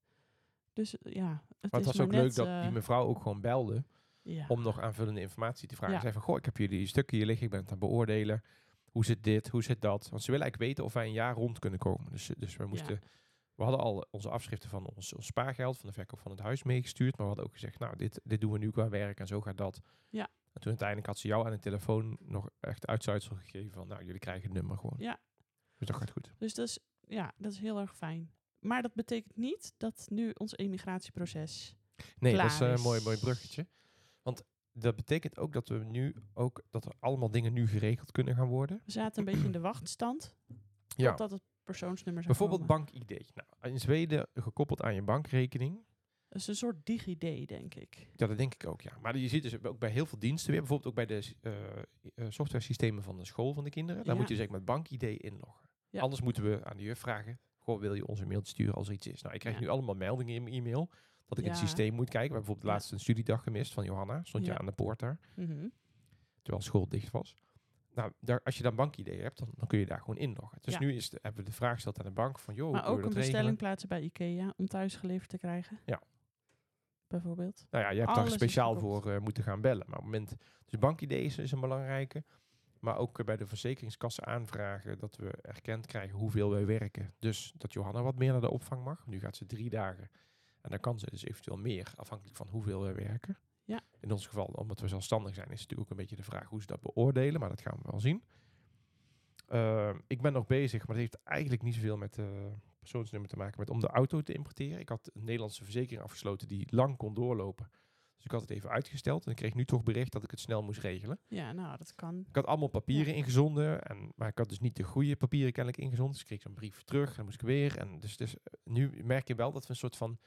Speaker 1: Dus eh, ja, het
Speaker 2: Maar
Speaker 1: is
Speaker 2: het was
Speaker 1: maar
Speaker 2: ook
Speaker 1: net,
Speaker 2: leuk dat
Speaker 1: eh,
Speaker 2: die mevrouw ook gewoon belde
Speaker 1: ja.
Speaker 2: om nog aanvullende informatie te vragen.
Speaker 1: Ja.
Speaker 2: Ze zei van, goh, ik heb jullie stukken hier liggen, ik ben het aan het beoordelen. Hoe zit dit, hoe zit dat? Want ze willen eigenlijk weten of wij een jaar rond kunnen komen. Dus, eh, dus we moesten... We hadden al onze afschriften van ons, ons spaargeld, van de verkoop van het huis meegestuurd. Maar we hadden ook gezegd, nou, dit, dit doen we nu qua werk en zo gaat dat.
Speaker 1: Ja.
Speaker 2: En toen uiteindelijk had ze jou aan de telefoon nog echt uitzuitsel gegeven van, nou, jullie krijgen het nummer gewoon.
Speaker 1: Ja.
Speaker 2: Dus dat gaat goed.
Speaker 1: Dus dat is, ja, dat is heel erg fijn. Maar dat betekent niet dat nu ons emigratieproces
Speaker 2: Nee,
Speaker 1: Klaar
Speaker 2: dat is eh, een
Speaker 1: is.
Speaker 2: mooi, mooi bruggetje. Want dat betekent ook dat we nu ook, dat er allemaal dingen nu geregeld kunnen gaan worden.
Speaker 1: We zaten een beetje in de wachtstand.
Speaker 2: Ja.
Speaker 1: Totdat het persoonsnummer zou
Speaker 2: Bijvoorbeeld
Speaker 1: komen.
Speaker 2: BankID. Nou, in Zweden gekoppeld aan je bankrekening.
Speaker 1: Dat is een soort DigiD, denk ik.
Speaker 2: Ja, dat denk ik ook, ja. Maar je ziet dus ook bij heel veel diensten weer, bijvoorbeeld ook bij de eh, eh, software systemen van de school van de kinderen, daar
Speaker 1: Ja.
Speaker 2: moet je dus echt met BankID inloggen.
Speaker 1: Ja.
Speaker 2: Anders moeten we aan de juf vragen, goh, wil je ons een mailtje sturen als er iets is? Nou, ik krijg
Speaker 1: Ja.
Speaker 2: nu allemaal meldingen in mijn e-mail dat ik in het
Speaker 1: Ja.
Speaker 2: systeem moet kijken. We hebben bijvoorbeeld
Speaker 1: Ja.
Speaker 2: laatst een studiedag gemist van Johanna, stond je
Speaker 1: Ja.
Speaker 2: aan de poort daar,
Speaker 1: Mhm.
Speaker 2: terwijl school dicht was. Nou, daar, als je dan BankID hebt, dan, dan kun je daar gewoon inloggen. Dus
Speaker 1: Ja.
Speaker 2: nu is de, hebben we de vraag gesteld aan de bank van, joh, hoe
Speaker 1: maar
Speaker 2: kunnen
Speaker 1: ook
Speaker 2: we
Speaker 1: een
Speaker 2: Oh, dat regelen?
Speaker 1: bestelling plaatsen bij IKEA om thuis geleverd te krijgen.
Speaker 2: Ja.
Speaker 1: Bijvoorbeeld.
Speaker 2: Nou ja, je hebt daar
Speaker 1: Alles is
Speaker 2: speciaal
Speaker 1: gekoppeld.
Speaker 2: voor eh, moeten gaan bellen. Maar op het moment, dus bankID is, is een belangrijke. Maar ook eh, bij de verzekeringskassen aanvragen dat we erkend krijgen hoeveel wij werken. Dus dat Johanna wat meer naar de opvang mag. Nu gaat ze drie dagen. En dan kan ze dus eventueel meer, afhankelijk van hoeveel wij werken.
Speaker 1: Ja.
Speaker 2: In ons geval, omdat we zelfstandig zijn, is het natuurlijk ook een beetje de vraag hoe ze dat beoordelen. Maar dat gaan we wel zien. Eh, ik ben nog bezig, maar dat heeft eigenlijk niet zoveel met eh, persoonsnummer te maken. Met om de auto te importeren. Ik had een Nederlandse verzekering afgesloten die lang kon doorlopen. Dus ik had het even uitgesteld. En ik kreeg nu toch bericht dat ik het snel moest regelen.
Speaker 1: Ja, nou, dat kan.
Speaker 2: Ik had allemaal papieren ingezonden. En, maar ik had dus niet de goede papieren kennelijk ingezonden. Dus ik kreeg zo'n brief terug. En dan moest ik weer. En dus, dus eh, nu merk je wel dat we een soort van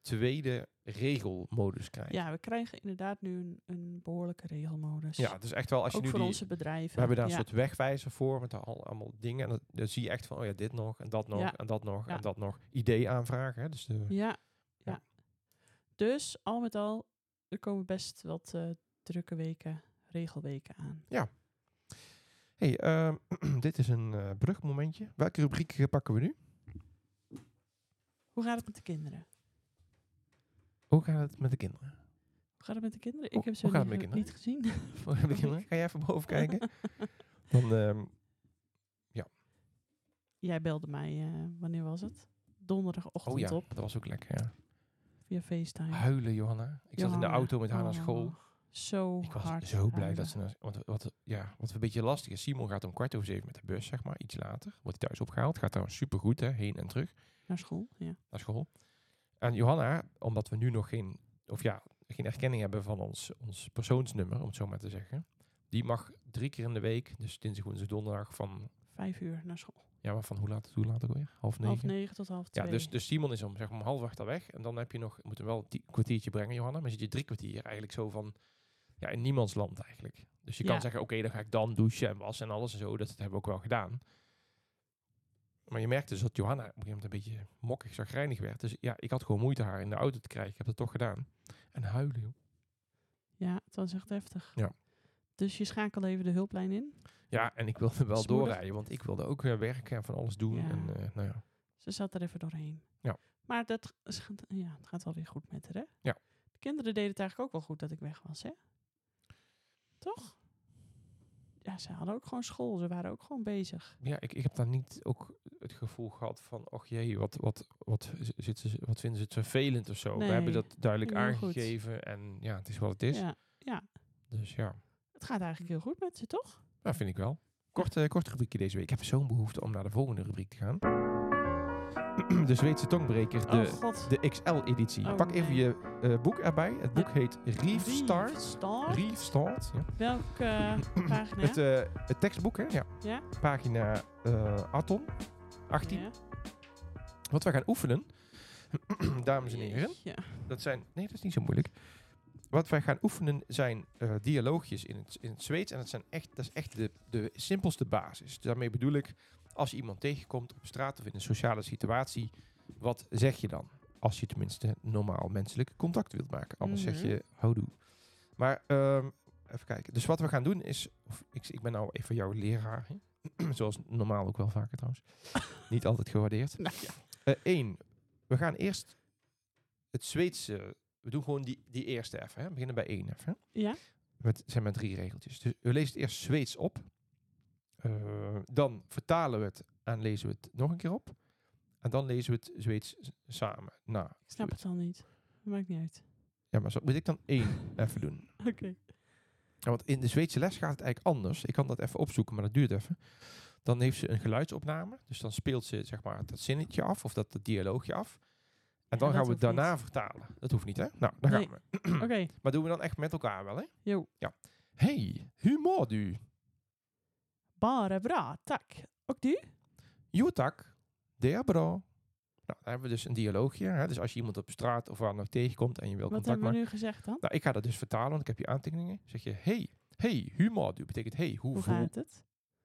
Speaker 2: tweede regelmodus krijgen.
Speaker 1: Ja, we krijgen inderdaad nu een, een behoorlijke regelmodus.
Speaker 2: Ja, dus echt wel als je
Speaker 1: ook
Speaker 2: nu
Speaker 1: voor
Speaker 2: die,
Speaker 1: onze bedrijven.
Speaker 2: we hebben daar een
Speaker 1: ja.
Speaker 2: soort wegwijzer voor met al, allemaal dingen. En dat- dan zie je echt van, oh ja, dit nog en dat nog
Speaker 1: Ja.
Speaker 2: en dat nog
Speaker 1: Ja.
Speaker 2: en dat nog. Idee aanvragen, hè. Dus de,
Speaker 1: Ja,
Speaker 2: Ja.
Speaker 1: ja. Dus al met al, er komen best wat eh, drukke weken, regelweken aan.
Speaker 2: hey, ehm, dit is een eh, brugmomentje. Welke rubriek eh, pakken we nu?
Speaker 1: Hoe gaat het met de kinderen?
Speaker 2: Hoe gaat het met de kinderen?
Speaker 1: Hoe gaat het met de kinderen?
Speaker 2: Hoe-
Speaker 1: Ik heb ze
Speaker 2: hoe gaat
Speaker 1: niet,
Speaker 2: het met de
Speaker 1: niet gezien.
Speaker 2: Hoe gaat het met de kinderen? Ga jij even boven kijken? Dan, ehm,
Speaker 1: Jij belde mij, eh, wanneer was het? Donderdagochtend
Speaker 2: oh ja,
Speaker 1: op,
Speaker 2: dat was ook lekker, ja.
Speaker 1: via FaceTime.
Speaker 2: Huilen, Johanna. Ik zat in
Speaker 1: Johanna,
Speaker 2: de auto met haar naar
Speaker 1: oh,
Speaker 2: school.
Speaker 1: Zo
Speaker 2: Ik was
Speaker 1: hard
Speaker 2: zo blij
Speaker 1: huilen.
Speaker 2: dat ze... Naar, want wat, ja, wat een beetje lastig is. Simon gaat om kwart over zeven met de bus, zeg maar. Iets later. Wordt hij thuis opgehaald. Gaat trouwens supergoed, hè. Heen en terug.
Speaker 1: Naar school, ja.
Speaker 2: naar school. En Johanna, omdat we nu nog geen, of ja, geen erkenning hebben van ons, ons persoonsnummer, om het zo maar te zeggen, die die mag drie keer in de week, dus dinsdag, woensdag, donderdag, van,
Speaker 1: Vijf uur naar school.
Speaker 2: ja, maar van hoe laat, hoe laat ook weer? Half negen?
Speaker 1: Half negen tot half
Speaker 2: Ja,
Speaker 1: twee.
Speaker 2: dus, dus Simon is om, zeg maar, om half acht al weg. En dan heb je nog, moet hem wel een kwartiertje brengen, Johanna. Maar zit je drie kwartier eigenlijk zo van, ja, in niemands land eigenlijk. Dus je kan
Speaker 1: Ja.
Speaker 2: zeggen, oké, dan ga ik dan douchen en wassen en alles en zo. Dat hebben we ook wel gedaan. Maar je merkte dus dat Johanna op een gegeven moment een beetje mokkig, zagrijnig werd. Dus ja, ik had gewoon moeite haar in de auto te krijgen. Ik heb dat toch gedaan. En huilen, joh.
Speaker 1: Ja, het was echt heftig.
Speaker 2: Ja.
Speaker 1: Dus je schakelt even de hulplijn in.
Speaker 2: Ja, en ik wilde wel
Speaker 1: Smoedig.
Speaker 2: doorrijden, want ik wilde ook weer werken en van alles doen.
Speaker 1: Ja.
Speaker 2: En, eh, nou ja.
Speaker 1: Ze zat er even doorheen.
Speaker 2: Ja.
Speaker 1: Maar dat is- ja, het gaat wel weer goed met haar, hè?
Speaker 2: Ja.
Speaker 1: De kinderen deden het eigenlijk ook wel goed dat ik weg was, hè? Toch? Ja, ze hadden ook gewoon school. Ze waren ook gewoon bezig.
Speaker 2: Ja, ik, ik heb daar niet ook het gevoel gehad van, och jee, wat, wat, wat, z- zit ze, wat vinden ze het vervelend of zo. We hebben
Speaker 1: Nee,
Speaker 2: dat duidelijk
Speaker 1: heel goed.
Speaker 2: aangegeven en ja, het is wat het is.
Speaker 1: Ja,
Speaker 2: Dus ja,
Speaker 1: het gaat eigenlijk heel goed met ze, toch?
Speaker 2: dat vind ik wel. Kort, eh, kort rubriekje deze week. Ik heb zo'n behoefte om naar de volgende rubriek te gaan. De Zweedse tongbreker,
Speaker 1: oh
Speaker 2: de,
Speaker 1: god.
Speaker 2: de XL-editie.
Speaker 1: Oh,
Speaker 2: Pak even
Speaker 1: nee.
Speaker 2: je eh, boek erbij. Het boek heet Reef Start.
Speaker 1: Start.
Speaker 2: Reef Start, ja.
Speaker 1: Welke eh, pagina?
Speaker 2: Het, eh, het tekstboek, hè? Ja.
Speaker 1: Ja.
Speaker 2: Pagina eh Aton, 18.
Speaker 1: Ja.
Speaker 2: Wat wij gaan oefenen, dames en heren,
Speaker 1: Jeetje.
Speaker 2: dat zijn... Nee, dat is niet zo moeilijk. Wat wij gaan oefenen zijn eh, dialoogjes in het, in het Zweeds. En dat, zijn echt, dat is echt de, de simpelste basis. Dus daarmee bedoel ik, als je iemand tegenkomt op straat of in een sociale situatie, wat zeg je dan? Als je tenminste normaal menselijk contact wilt maken. Anders
Speaker 1: Mhm.
Speaker 2: zeg je houdoe. Maar ehm, even kijken. Dus wat we gaan doen is... Of, ik, ik ben nou even jouw leraar. Hè? Zoals normaal ook wel vaker trouwens. Niet altijd gewaardeerd.
Speaker 1: Nou ja.
Speaker 2: Eén, Eh, we gaan eerst het Zweedse. We doen gewoon die, die eerste even. Hè? We beginnen bij één even. hè.
Speaker 1: Ja.
Speaker 2: Met, zijn maar drie regeltjes. Dus we lezen het eerst Zweeds op. Eh, dan vertalen we het en lezen we het nog een keer op. En dan lezen we het Zweeds s- samen na.
Speaker 1: Ik snap het al niet. Maakt niet uit.
Speaker 2: Ja, maar zo, moet ik dan één even doen?
Speaker 1: Oké.
Speaker 2: Ehm. Ja, want in de Zweedse les gaat het eigenlijk anders. Ik kan dat even opzoeken, maar dat duurt even. Dan heeft ze een geluidsopname. Dus dan speelt ze zeg maar, dat zinnetje af of dat, dat dialoogje af. En dan
Speaker 1: dat
Speaker 2: gaan we
Speaker 1: hoeft
Speaker 2: het daarna
Speaker 1: niet.
Speaker 2: vertalen. Dat hoeft niet, hè? Nou, daar
Speaker 1: Nee.
Speaker 2: gaan we.
Speaker 1: Oké.
Speaker 2: Maar doen we dan echt met elkaar wel, hè?
Speaker 1: Jo.
Speaker 2: Ja. Hey, hoe mår du?
Speaker 1: Bara bra, tack. Och du?
Speaker 2: Jo tak, det är bra. Nou, dan hebben we dus een dialoogje. Hè? Dus als je iemand op straat of waar dan ook tegenkomt en je wil
Speaker 1: Wat
Speaker 2: contact
Speaker 1: hebben we
Speaker 2: maken.
Speaker 1: nu gezegd dan?
Speaker 2: Nou, ik ga dat dus vertalen, want ik heb je aantekeningen. Zeg je, hey, hey, hoe mår du? Betekent, hey, hoe,
Speaker 1: Hoe
Speaker 2: voel...
Speaker 1: gaat het?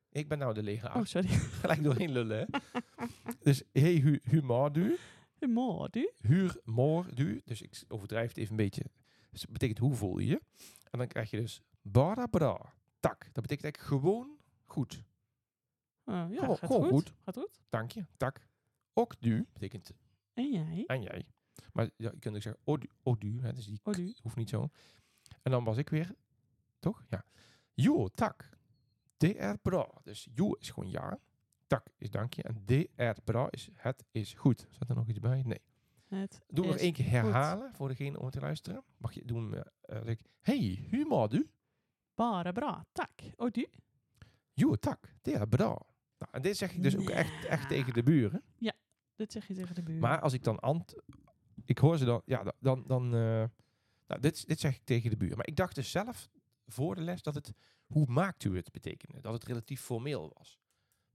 Speaker 2: Ik ben nou de leraar.
Speaker 1: Oh, sorry.
Speaker 2: gelijk doorheen lullen. hè. dus hey, hu, humor du,
Speaker 1: Hur mår du?
Speaker 2: huur, moor du. Dus ik s- overdrijf het even een beetje. Dus dat betekent hoe voel je je. En dan krijg je dus bara bra, tak. Dat betekent eigenlijk gewoon goed.
Speaker 1: Oh, ja,
Speaker 2: Gewoon-
Speaker 1: gaat
Speaker 2: gewoon
Speaker 1: goed.
Speaker 2: goed.
Speaker 1: Gaat goed.
Speaker 2: Dank je, tak. Ook du betekent
Speaker 1: En jij?
Speaker 2: en jij. Maar ja, je kunt ook zeggen odu, odu hè, dus die
Speaker 1: Oh, du?
Speaker 2: hoeft niet zo. En dan was ik weer, toch? Ja. Jo, tak. DR bra. Dus jo is gewoon ja. Tak is dankje. En DR bra is het is goed. Zat er nog iets bij? Nee.
Speaker 1: Het
Speaker 2: Doe hem nog
Speaker 1: is
Speaker 2: één keer
Speaker 1: goed.
Speaker 2: herhalen voor degene om te luisteren. Mag je doen? eh, eh, zeg ik, hey, hur mår du?
Speaker 1: Bara bra, tack. Och Oh, du?
Speaker 2: Jo, tak. DR bra. Nou, en dit zeg ik dus ook echt, echt tegen de buren.
Speaker 1: Dit zeg je tegen de buren.
Speaker 2: Maar als ik dan ant... Ik hoor ze dan... Ja, da- dan... dan eh, nou, dit, dit zeg ik tegen de buren. Maar ik dacht dus zelf voor de les dat het... Hoe maakt u het betekende? Dat het relatief formeel was.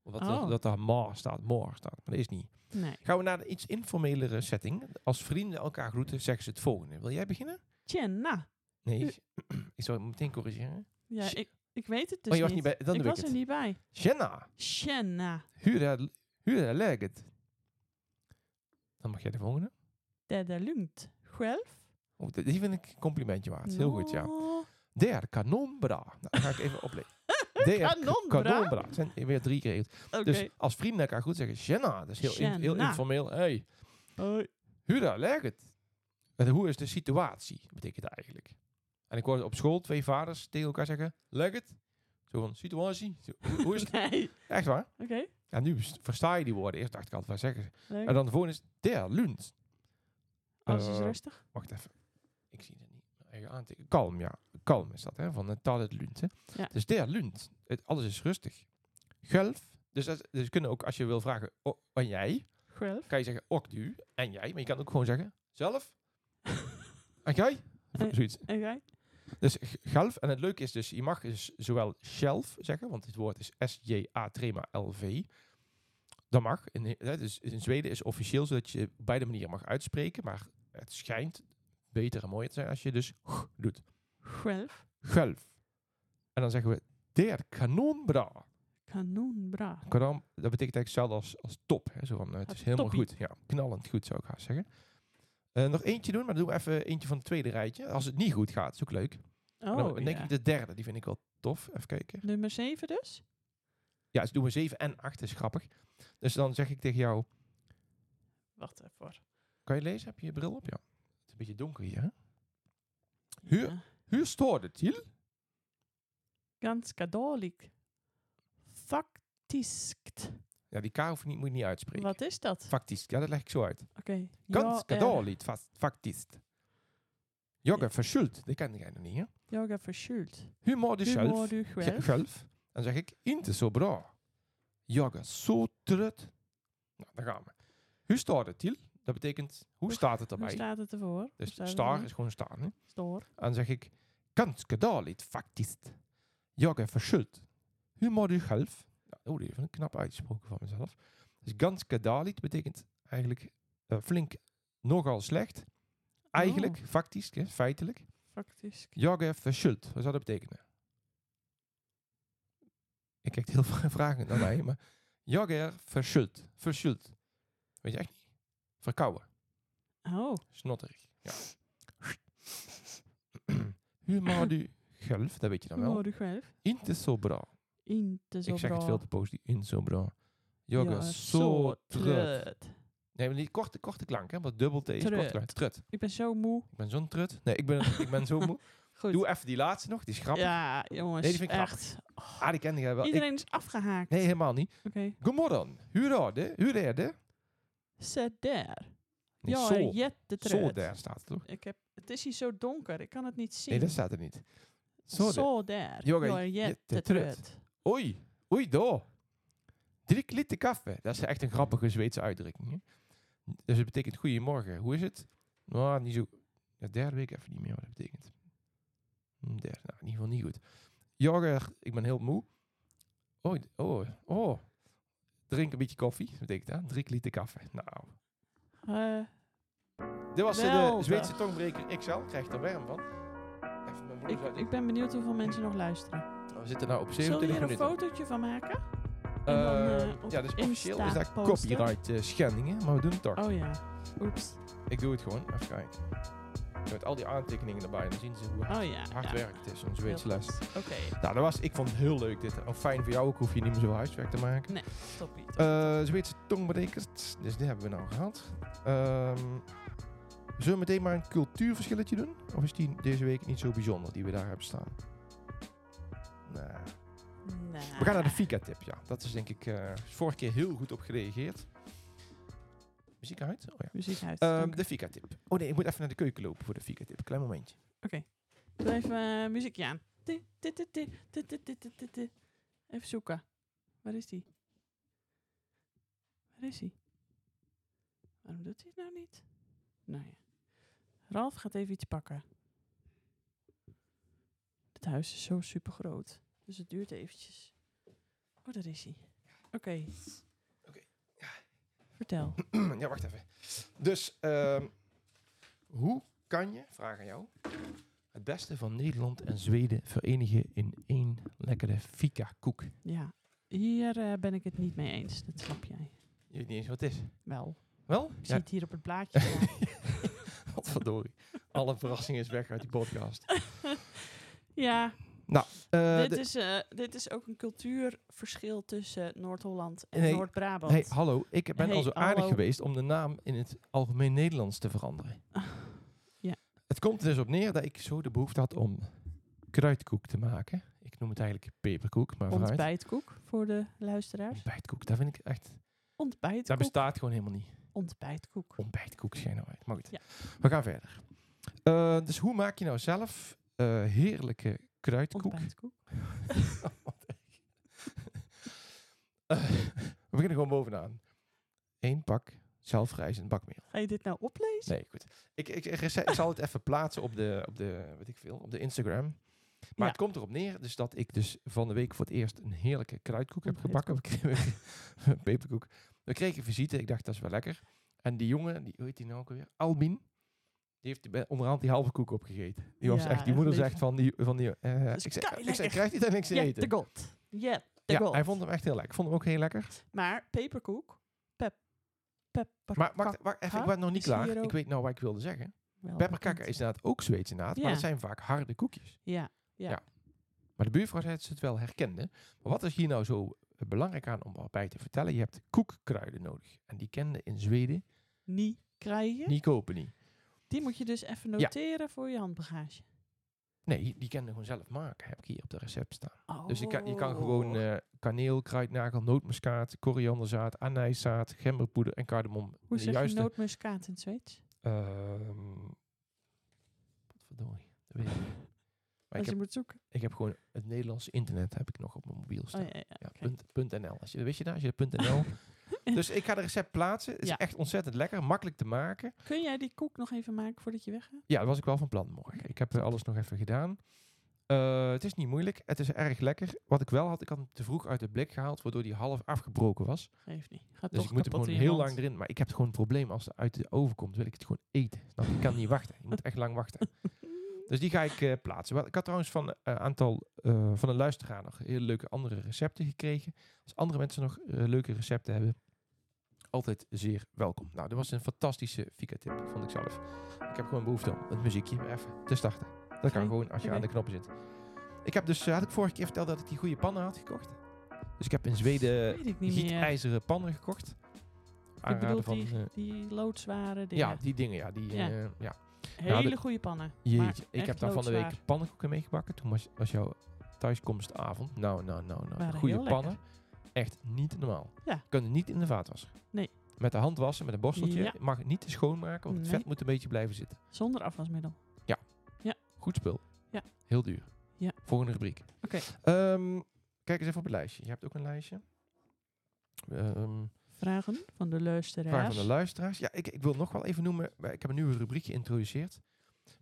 Speaker 2: Omdat er-
Speaker 1: Oh.
Speaker 2: dat daar maar staat, maar staat. Maar dat is niet.
Speaker 1: Nee.
Speaker 2: Gaan we naar een iets informelere setting. Als vrienden elkaar groeten, zeggen ze het volgende. Wil jij beginnen?
Speaker 1: Tjena.
Speaker 2: Nee.
Speaker 1: U-
Speaker 2: ik- Ik zal het meteen corrigeren.
Speaker 1: Ja,
Speaker 2: Sh-
Speaker 1: ik, ik weet het Eh. dus
Speaker 2: oh, je was niet
Speaker 1: niet.
Speaker 2: bij... Dan
Speaker 1: ik
Speaker 2: doe
Speaker 1: was
Speaker 2: ik
Speaker 1: er
Speaker 2: het.
Speaker 1: niet bij.
Speaker 2: Jenna.
Speaker 1: Tjena.
Speaker 2: Hur är- hur är läget? Dan mag jij de volgende.
Speaker 1: Det är lugnt. Själv?
Speaker 2: Oh, die- die vind ik een complimentje waard. Heel goed, ja.
Speaker 1: Nå.
Speaker 2: Der Kanonbra. Nou, dan ga ik even oplezen. Der
Speaker 1: Kanonbra?
Speaker 2: Kanonbra. Het zijn weer drie keer. regels.
Speaker 1: Oké.
Speaker 2: Dus als vrienden elkaar goed zeggen, Jenna. Dat is heel, in- heel
Speaker 1: Tjena.
Speaker 2: informeel. Hey,
Speaker 1: Hoi.
Speaker 2: Hura, leg het. En hoe is de situatie? Betekent dat eigenlijk. En ik hoorde op school twee vaders tegen elkaar zeggen, leg het. Zo van, situatie. Zo, Hoe, hoe is het?
Speaker 1: Nee.
Speaker 2: Echt waar?
Speaker 1: Oké.
Speaker 2: En nu s- versta je die woorden. Eerst dacht ik altijd, waar zeggen ze?
Speaker 1: Leuk.
Speaker 2: En dan de volgende is, der Lund.
Speaker 1: Alles is
Speaker 2: Eh,
Speaker 1: rustig.
Speaker 2: Wacht even. Ik zie het niet. Eigen aanteken- Kalm, ja. Kalm is dat, hè? Van het taal het Lund, hè?
Speaker 1: Ja.
Speaker 2: Dus der Lund. Het, alles is rustig. Gulf. Dus, dat, dus kunnen ook, als je wil vragen, o- en jij,
Speaker 1: Själv?
Speaker 2: kan je zeggen, ook du, en jij. Maar je kan ook gewoon zeggen, zelf, en jij. Of
Speaker 1: Eh.
Speaker 2: Zoiets.
Speaker 1: En jij?
Speaker 2: Dus g- galf. En het leuke is dus, je mag dus zowel shelf zeggen, want het woord is S-J-A trema L-V. Dat mag. In, hè, dus in Zweden is officieel zodat je beide manieren mag uitspreken, maar het schijnt beter en mooier te zijn als je dus g doet.
Speaker 1: Själv.
Speaker 2: Galf. En dan zeggen we der kanonbra.
Speaker 1: Kanonbra.
Speaker 2: Kadam, dat betekent eigenlijk hetzelfde als, als top. Hè? Zo van, eh, het
Speaker 1: Ah,
Speaker 2: is helemaal
Speaker 1: toppie.
Speaker 2: goed. Ja, knallend goed zou ik haast zeggen. Eh, nog eentje doen, maar dan doen we even eentje van het tweede rijtje. Als het niet goed gaat, is ook leuk.
Speaker 1: Oh,
Speaker 2: dan denk
Speaker 1: ja.
Speaker 2: ik de derde, die vind ik wel tof. Even kijken.
Speaker 1: Nummer 7 dus?
Speaker 2: Ja, dus doen we 7 en 8, is grappig. Dus dan zeg ik tegen jou,
Speaker 1: Wacht even hoor.
Speaker 2: kan je lezen? Heb je je bril op? Ja. Het is een beetje donker hier, hè? Huur.
Speaker 1: Ja.
Speaker 2: Hur står det till?
Speaker 1: Ganska dålig. Faktiskt.
Speaker 2: Ja, die K hoef je niet, moet je niet uitspreken.
Speaker 1: Wat is dat?
Speaker 2: Factisch. Ja, dat leg ik zo uit.
Speaker 1: Oké.
Speaker 2: Ganz
Speaker 1: Ja, eh,
Speaker 2: kadaliet, factisch. Jogger verschuld, die kende jij nog niet, hè?
Speaker 1: Yoga verschuld.
Speaker 2: Humor de
Speaker 1: Humor
Speaker 2: Schelf.
Speaker 1: de
Speaker 2: Ge-
Speaker 1: Schelf.
Speaker 2: Schelf. En dan zeg ik, inte zo bra. Jag är så trött. Nou, daar gaan we. Hur står det till? Dat betekent, hoe staat het
Speaker 1: Hoe
Speaker 2: erbij?
Speaker 1: staat het ervoor? Hoe
Speaker 2: Dus
Speaker 1: staat het
Speaker 2: star
Speaker 1: ervoor?
Speaker 2: is gewoon staan. Hè?
Speaker 1: Stor.
Speaker 2: En dan zeg ik, ganska dåligt faktiskt. Jag är förkyld. Hur mår du själv? Nou, oh, die heeft een knap uitgesproken van mezelf. Dus ganska dåligt betekent eigenlijk eh, flink nogal slecht. Eigenlijk, faktisch, hè, feitelijk.
Speaker 1: Faktisch.
Speaker 2: Jag är förkyld. Wat zou dat betekenen? Ik kijk heel veel vragen naar mij, maar jag är förkyld. Verschuld. Weet je echt niet? Verkouden.
Speaker 1: Oh.
Speaker 2: Snotterig. Ja. Humor du själv, dat weet je dan wel.
Speaker 1: Humor själv.
Speaker 2: Inte så bra.
Speaker 1: Inte så
Speaker 2: Ik zeg het
Speaker 1: bra.
Speaker 2: veel te positief. Inte så bra. Jag är
Speaker 1: Ja,
Speaker 2: så trött.
Speaker 1: trött.
Speaker 2: Nee, maar die korte, korte klank, hè? Want dubbel T is
Speaker 1: Trut.
Speaker 2: kort klank. Trut.
Speaker 1: Ik ben zo moe.
Speaker 2: Ik ben zo'n trut. Nee, ik ben, ik ben zo moe.
Speaker 1: Goed.
Speaker 2: Doe even die laatste nog, die is grappig.
Speaker 1: Ja, jongens.
Speaker 2: Nee, die vind ik
Speaker 1: echt.
Speaker 2: Ah, die kende jij wel. Ik-
Speaker 1: Iedereen is afgehaakt.
Speaker 2: nee, helemaal niet.
Speaker 1: Oké.
Speaker 2: Godmorgen. Hur är det? Hur är det?
Speaker 1: Zet daar.
Speaker 2: Nee,
Speaker 1: Ja,
Speaker 2: sol. Sol
Speaker 1: jättetrött.
Speaker 2: daar staat het, toch?
Speaker 1: Ik heb, het is hier zo donker, ik kan het niet zien.
Speaker 2: Nee, dat staat er niet. Sol daar.
Speaker 1: Zo daar.
Speaker 2: Jag är
Speaker 1: Jag är
Speaker 2: jättetrött.
Speaker 1: jättetrött.
Speaker 2: Oei, oei do. Drie liter koffie. Dat is echt een grappige Zweedse uitdrukking. Hè? Dus het betekent goedemorgen. Hoe is het? Nou, niet zo... Ja, derde week even niet meer wat dat betekent. Hmm, Derde, nou, in ieder geval niet goed. Jogger, ik ben heel moe. Oh, oh, oh. Drink een beetje koffie, dat betekent dat. Drie liter koffie. Nou,
Speaker 1: Eh,
Speaker 2: dit was eh, de
Speaker 1: Geweldig.
Speaker 2: Zweedse tongbreker XL. Krijg er warm van. Even mijn
Speaker 1: ik,
Speaker 2: broek uit.
Speaker 1: ik ben benieuwd hoeveel mensen nog luisteren.
Speaker 2: We zitten nou op
Speaker 1: Zullen we
Speaker 2: 27
Speaker 1: hier een
Speaker 2: minuten.
Speaker 1: fotootje van maken?
Speaker 2: Eh,
Speaker 1: en dan, eh, op
Speaker 2: ja, dus officieel is
Speaker 1: Insta
Speaker 2: dat
Speaker 1: posten?
Speaker 2: copyright eh, schendingen, maar we doen het toch.
Speaker 1: Oh ja. Oeps.
Speaker 2: Ik doe het gewoon, even kijken. Met al die aantekeningen erbij, dan zien ze hoe
Speaker 1: Oh ja.
Speaker 2: hard
Speaker 1: ja.
Speaker 2: werk het is, zo'n
Speaker 1: Heel
Speaker 2: Zweedse les.
Speaker 1: goed. Oké,
Speaker 2: Nou, dat was, ik vond het heel leuk dit. En fijn voor jou ook, hoef je niet meer zo huiswerk te maken.
Speaker 1: stop niet.
Speaker 2: Eh Zweedse tongbrekers, dus die hebben we nou gehad. Ehm, zullen we meteen maar een cultuurverschilletje doen? Of is die deze week niet zo bijzonder, die we daar hebben staan? Nou,
Speaker 1: Nah.
Speaker 2: we gaan naar de Fika-tip, ja. Dat is denk ik eh, vorige keer heel goed op gereageerd. Muziek uit? Oh ja.
Speaker 1: Muziek uit.
Speaker 2: Ehm,
Speaker 1: dank.
Speaker 2: de Fika-tip. Oh nee, ik moet even naar de keuken lopen voor de Fika-tip. Klein momentje.
Speaker 1: Doe even eh, muziekje aan. Ti, ti, ti, ti, ti, ti, ti, ti, ti, ti. Even zoeken. Waar is die? Waar is hij? Waarom doet hij het nou niet? Nou ja. Ralf gaat even iets pakken. Het huis is zo super groot. Dus het duurt eventjes. Oh, daar is hij. Oké.
Speaker 2: Oké.
Speaker 1: Vertel.
Speaker 2: ja, wacht even. Dus, ehm, hoe kan je, vraag aan jou, het beste van Nederland en Zweden verenigen in één lekkere fika-koek? Je
Speaker 1: Ja. Hier eh, ben ik het niet mee eens. Dat snap jij.
Speaker 2: weet niet eens wat het is.
Speaker 1: Wel.
Speaker 2: Wel?
Speaker 1: Ik zie het hier op het blaadje. staan.
Speaker 2: Wat verdorie. Alle verrassing is weg uit die podcast.
Speaker 1: ja.
Speaker 2: Eh,
Speaker 1: dit,
Speaker 2: de-
Speaker 1: is, eh, dit is ook een cultuurverschil tussen Noord-Holland en
Speaker 2: Nee.
Speaker 1: Noord-Brabant.
Speaker 2: hey, hallo, ik ben
Speaker 1: Hey,
Speaker 2: al zo aardig
Speaker 1: hallo.
Speaker 2: geweest om de naam in het algemeen Nederlands te veranderen.
Speaker 1: Ah, Ja.
Speaker 2: Het komt er dus op neer dat ik zo de behoefte had om kruidkoek te maken. Ik noem het eigenlijk peperkoek, maar vooruit.
Speaker 1: Ontbijtkoek voor de luisteraars.
Speaker 2: Ontbijtkoek, dat vind ik echt... Dat
Speaker 1: Ontbijtkoek.
Speaker 2: bestaat gewoon helemaal niet.
Speaker 1: Ontbijtkoek.
Speaker 2: Ontbijtkoek schijnen uit. Maar goed,
Speaker 1: Ja.
Speaker 2: we gaan verder. Eh, dus hoe maak je nou zelf eh, heerlijke kruidkoek?
Speaker 1: Ontbijtkoek.
Speaker 2: Eh, we beginnen gewoon bovenaan. Eén pak Zelfrijzend bakmeel.
Speaker 1: Ga je dit nou oplezen?
Speaker 2: Nee, goed. Ik, ik, ik, ik zal het even plaatsen op de, op de, weet ik veel, op de Instagram.
Speaker 1: Ja.
Speaker 2: Maar het komt erop neer dus dat ik dus van de week voor het eerst een heerlijke kruidkoek heb
Speaker 1: Een
Speaker 2: gebakken. We kregen- een peperkoek. We kregen visite. Ik dacht, dat is wel lekker. En die jongen, die, hoe heet die nou ook alweer? Albin. Die heeft bij- onderhand die halve koek opgegeten. Die, was
Speaker 1: Ja,
Speaker 2: echt, die
Speaker 1: echt Dus
Speaker 2: moeder
Speaker 1: lekker.
Speaker 2: zegt van die... Van die eh,
Speaker 1: is
Speaker 2: ik zei, ik
Speaker 1: keilekker.
Speaker 2: zei, krijgt hij daar niks te
Speaker 1: Ja,
Speaker 2: eten?
Speaker 1: de god. Ja, de
Speaker 2: ja,
Speaker 1: god.
Speaker 2: hij vond hem echt heel lekker. Ik vond hem ook heel lekker.
Speaker 1: Maar peperkoek, pep, pep,
Speaker 2: Maar wacht, wacht even, ik
Speaker 1: Huh?
Speaker 2: ben nog niet
Speaker 1: Is hier
Speaker 2: klaar.
Speaker 1: ook-
Speaker 2: Ik weet nou wat ik wilde zeggen. Pepperkakker is inderdaad ook Zweedse naad, maar
Speaker 1: Ja.
Speaker 2: dat zijn vaak harde koekjes.
Speaker 1: Ja,
Speaker 2: Maar de buurvrouw zei dat ze het wel herkende. Maar wat is hier nou zo eh, belangrijk aan om bij te vertellen? Je hebt koekkruiden nodig. En die kenden in Zweden
Speaker 1: niet krijgen.
Speaker 2: niet kopen niet.
Speaker 1: Die moet je dus even
Speaker 2: Ja.
Speaker 1: noteren voor je handbagage.
Speaker 2: Nee, die kenden gewoon zelf maken, heb ik hier op de recept staan.
Speaker 1: Oh.
Speaker 2: Dus je kan, je kan gewoon eh, kaneel, kruidnagel, nootmuskaat, korianderzaad, anijszaad, gemberpoeder en cardamom.
Speaker 1: Hoe
Speaker 2: de
Speaker 1: zeg je
Speaker 2: juiste-
Speaker 1: nootmuskaat in het Zweeds?
Speaker 2: Ehm, Potverdorie, dat weet ik niet. Maar
Speaker 1: Als
Speaker 2: ik
Speaker 1: je
Speaker 2: heb,
Speaker 1: moet zoeken.
Speaker 2: ik heb gewoon het Nederlandse internet heb ik nog op mijn mobiel
Speaker 1: Oh,
Speaker 2: staan.
Speaker 1: ja, ja, ja.
Speaker 2: Ja, dus-
Speaker 1: Oké.
Speaker 2: punt, punt .nl. Als je, wist je dat? Als je punt .nl. dus ik ga de recept plaatsen. Het is
Speaker 1: Ja.
Speaker 2: echt ontzettend lekker. Makkelijk te maken.
Speaker 1: Kun jij die koek nog even maken voordat je weggaat?
Speaker 2: Ja, dat was ik wel van plan morgen. Ik heb eh, alles nog even gedaan. Eh, het is niet moeilijk. Het is erg lekker. Wat ik wel had, ik had hem te vroeg uit de blik gehaald, waardoor die half afgebroken was.
Speaker 1: Geeft niet. Gaat
Speaker 2: Dus
Speaker 1: toch
Speaker 2: ik moet
Speaker 1: kapot
Speaker 2: hem gewoon
Speaker 1: in je
Speaker 2: heel
Speaker 1: hand.
Speaker 2: lang erin. Maar ik heb gewoon het probleem, als het uit de oven komt, wil ik het gewoon eten. Snap je? Ik kan niet wachten. Je moet echt lang wachten. Dus die ga ik eh, plaatsen. Wel, Ik had trouwens van een aantal eh, van een luisteraar nog hele leuke andere recepten gekregen. Als andere mensen nog eh, leuke recepten hebben, altijd zeer welkom. Nou, dit was een fantastische Fika-tip, vond ik zelf. Ik heb gewoon behoefte om het muziekje weer even te starten. Dat kan
Speaker 1: Oké,
Speaker 2: gewoon als je aan
Speaker 1: oké.
Speaker 2: de knoppen zit. Ik heb dus, eh, had ik vorige keer verteld dat ik die goede pannen had gekocht. Dus ik heb in Zweden
Speaker 1: Weet ik niet meer.
Speaker 2: gietijzeren pannen gekocht.
Speaker 1: Ik bedoel
Speaker 2: Aanraden van...
Speaker 1: die,
Speaker 2: eh,
Speaker 1: die loodzware dingen.
Speaker 2: ja, die dingen, ja. Die,
Speaker 1: Ja.
Speaker 2: eh, ja.
Speaker 1: Hele
Speaker 2: de-
Speaker 1: goede pannen. maar
Speaker 2: Jeetje, ik
Speaker 1: echt
Speaker 2: heb daar van de week
Speaker 1: loodzwaar.
Speaker 2: pannenkoeken meegebakken. Toen was, was jouw thuiskomstavond. Nou, nou, nou, nou.
Speaker 1: Waren
Speaker 2: Goede
Speaker 1: heel
Speaker 2: pannen. Echt niet normaal.
Speaker 1: Ja.
Speaker 2: Kunnen niet in de vaatwasser.
Speaker 1: Nee.
Speaker 2: Met de hand wassen, met een borsteltje.
Speaker 1: Ja.
Speaker 2: Mag het niet te schoonmaken, want het
Speaker 1: Nee.
Speaker 2: vet moet een beetje blijven zitten.
Speaker 1: Zonder afwasmiddel.
Speaker 2: Goed spul.
Speaker 1: Ja.
Speaker 2: Heel duur.
Speaker 1: Ja.
Speaker 2: Volgende rubriek.
Speaker 1: Oké.
Speaker 2: Ehm, kijk eens even op het lijstje. Je hebt ook een lijstje. Ehm,
Speaker 1: Vragen van de luisteraars.
Speaker 2: Vraag van de luisteraars. Ja, ik, ik wil nog wel even noemen. wij- Ik heb een nieuwe rubriek geïntroduceerd.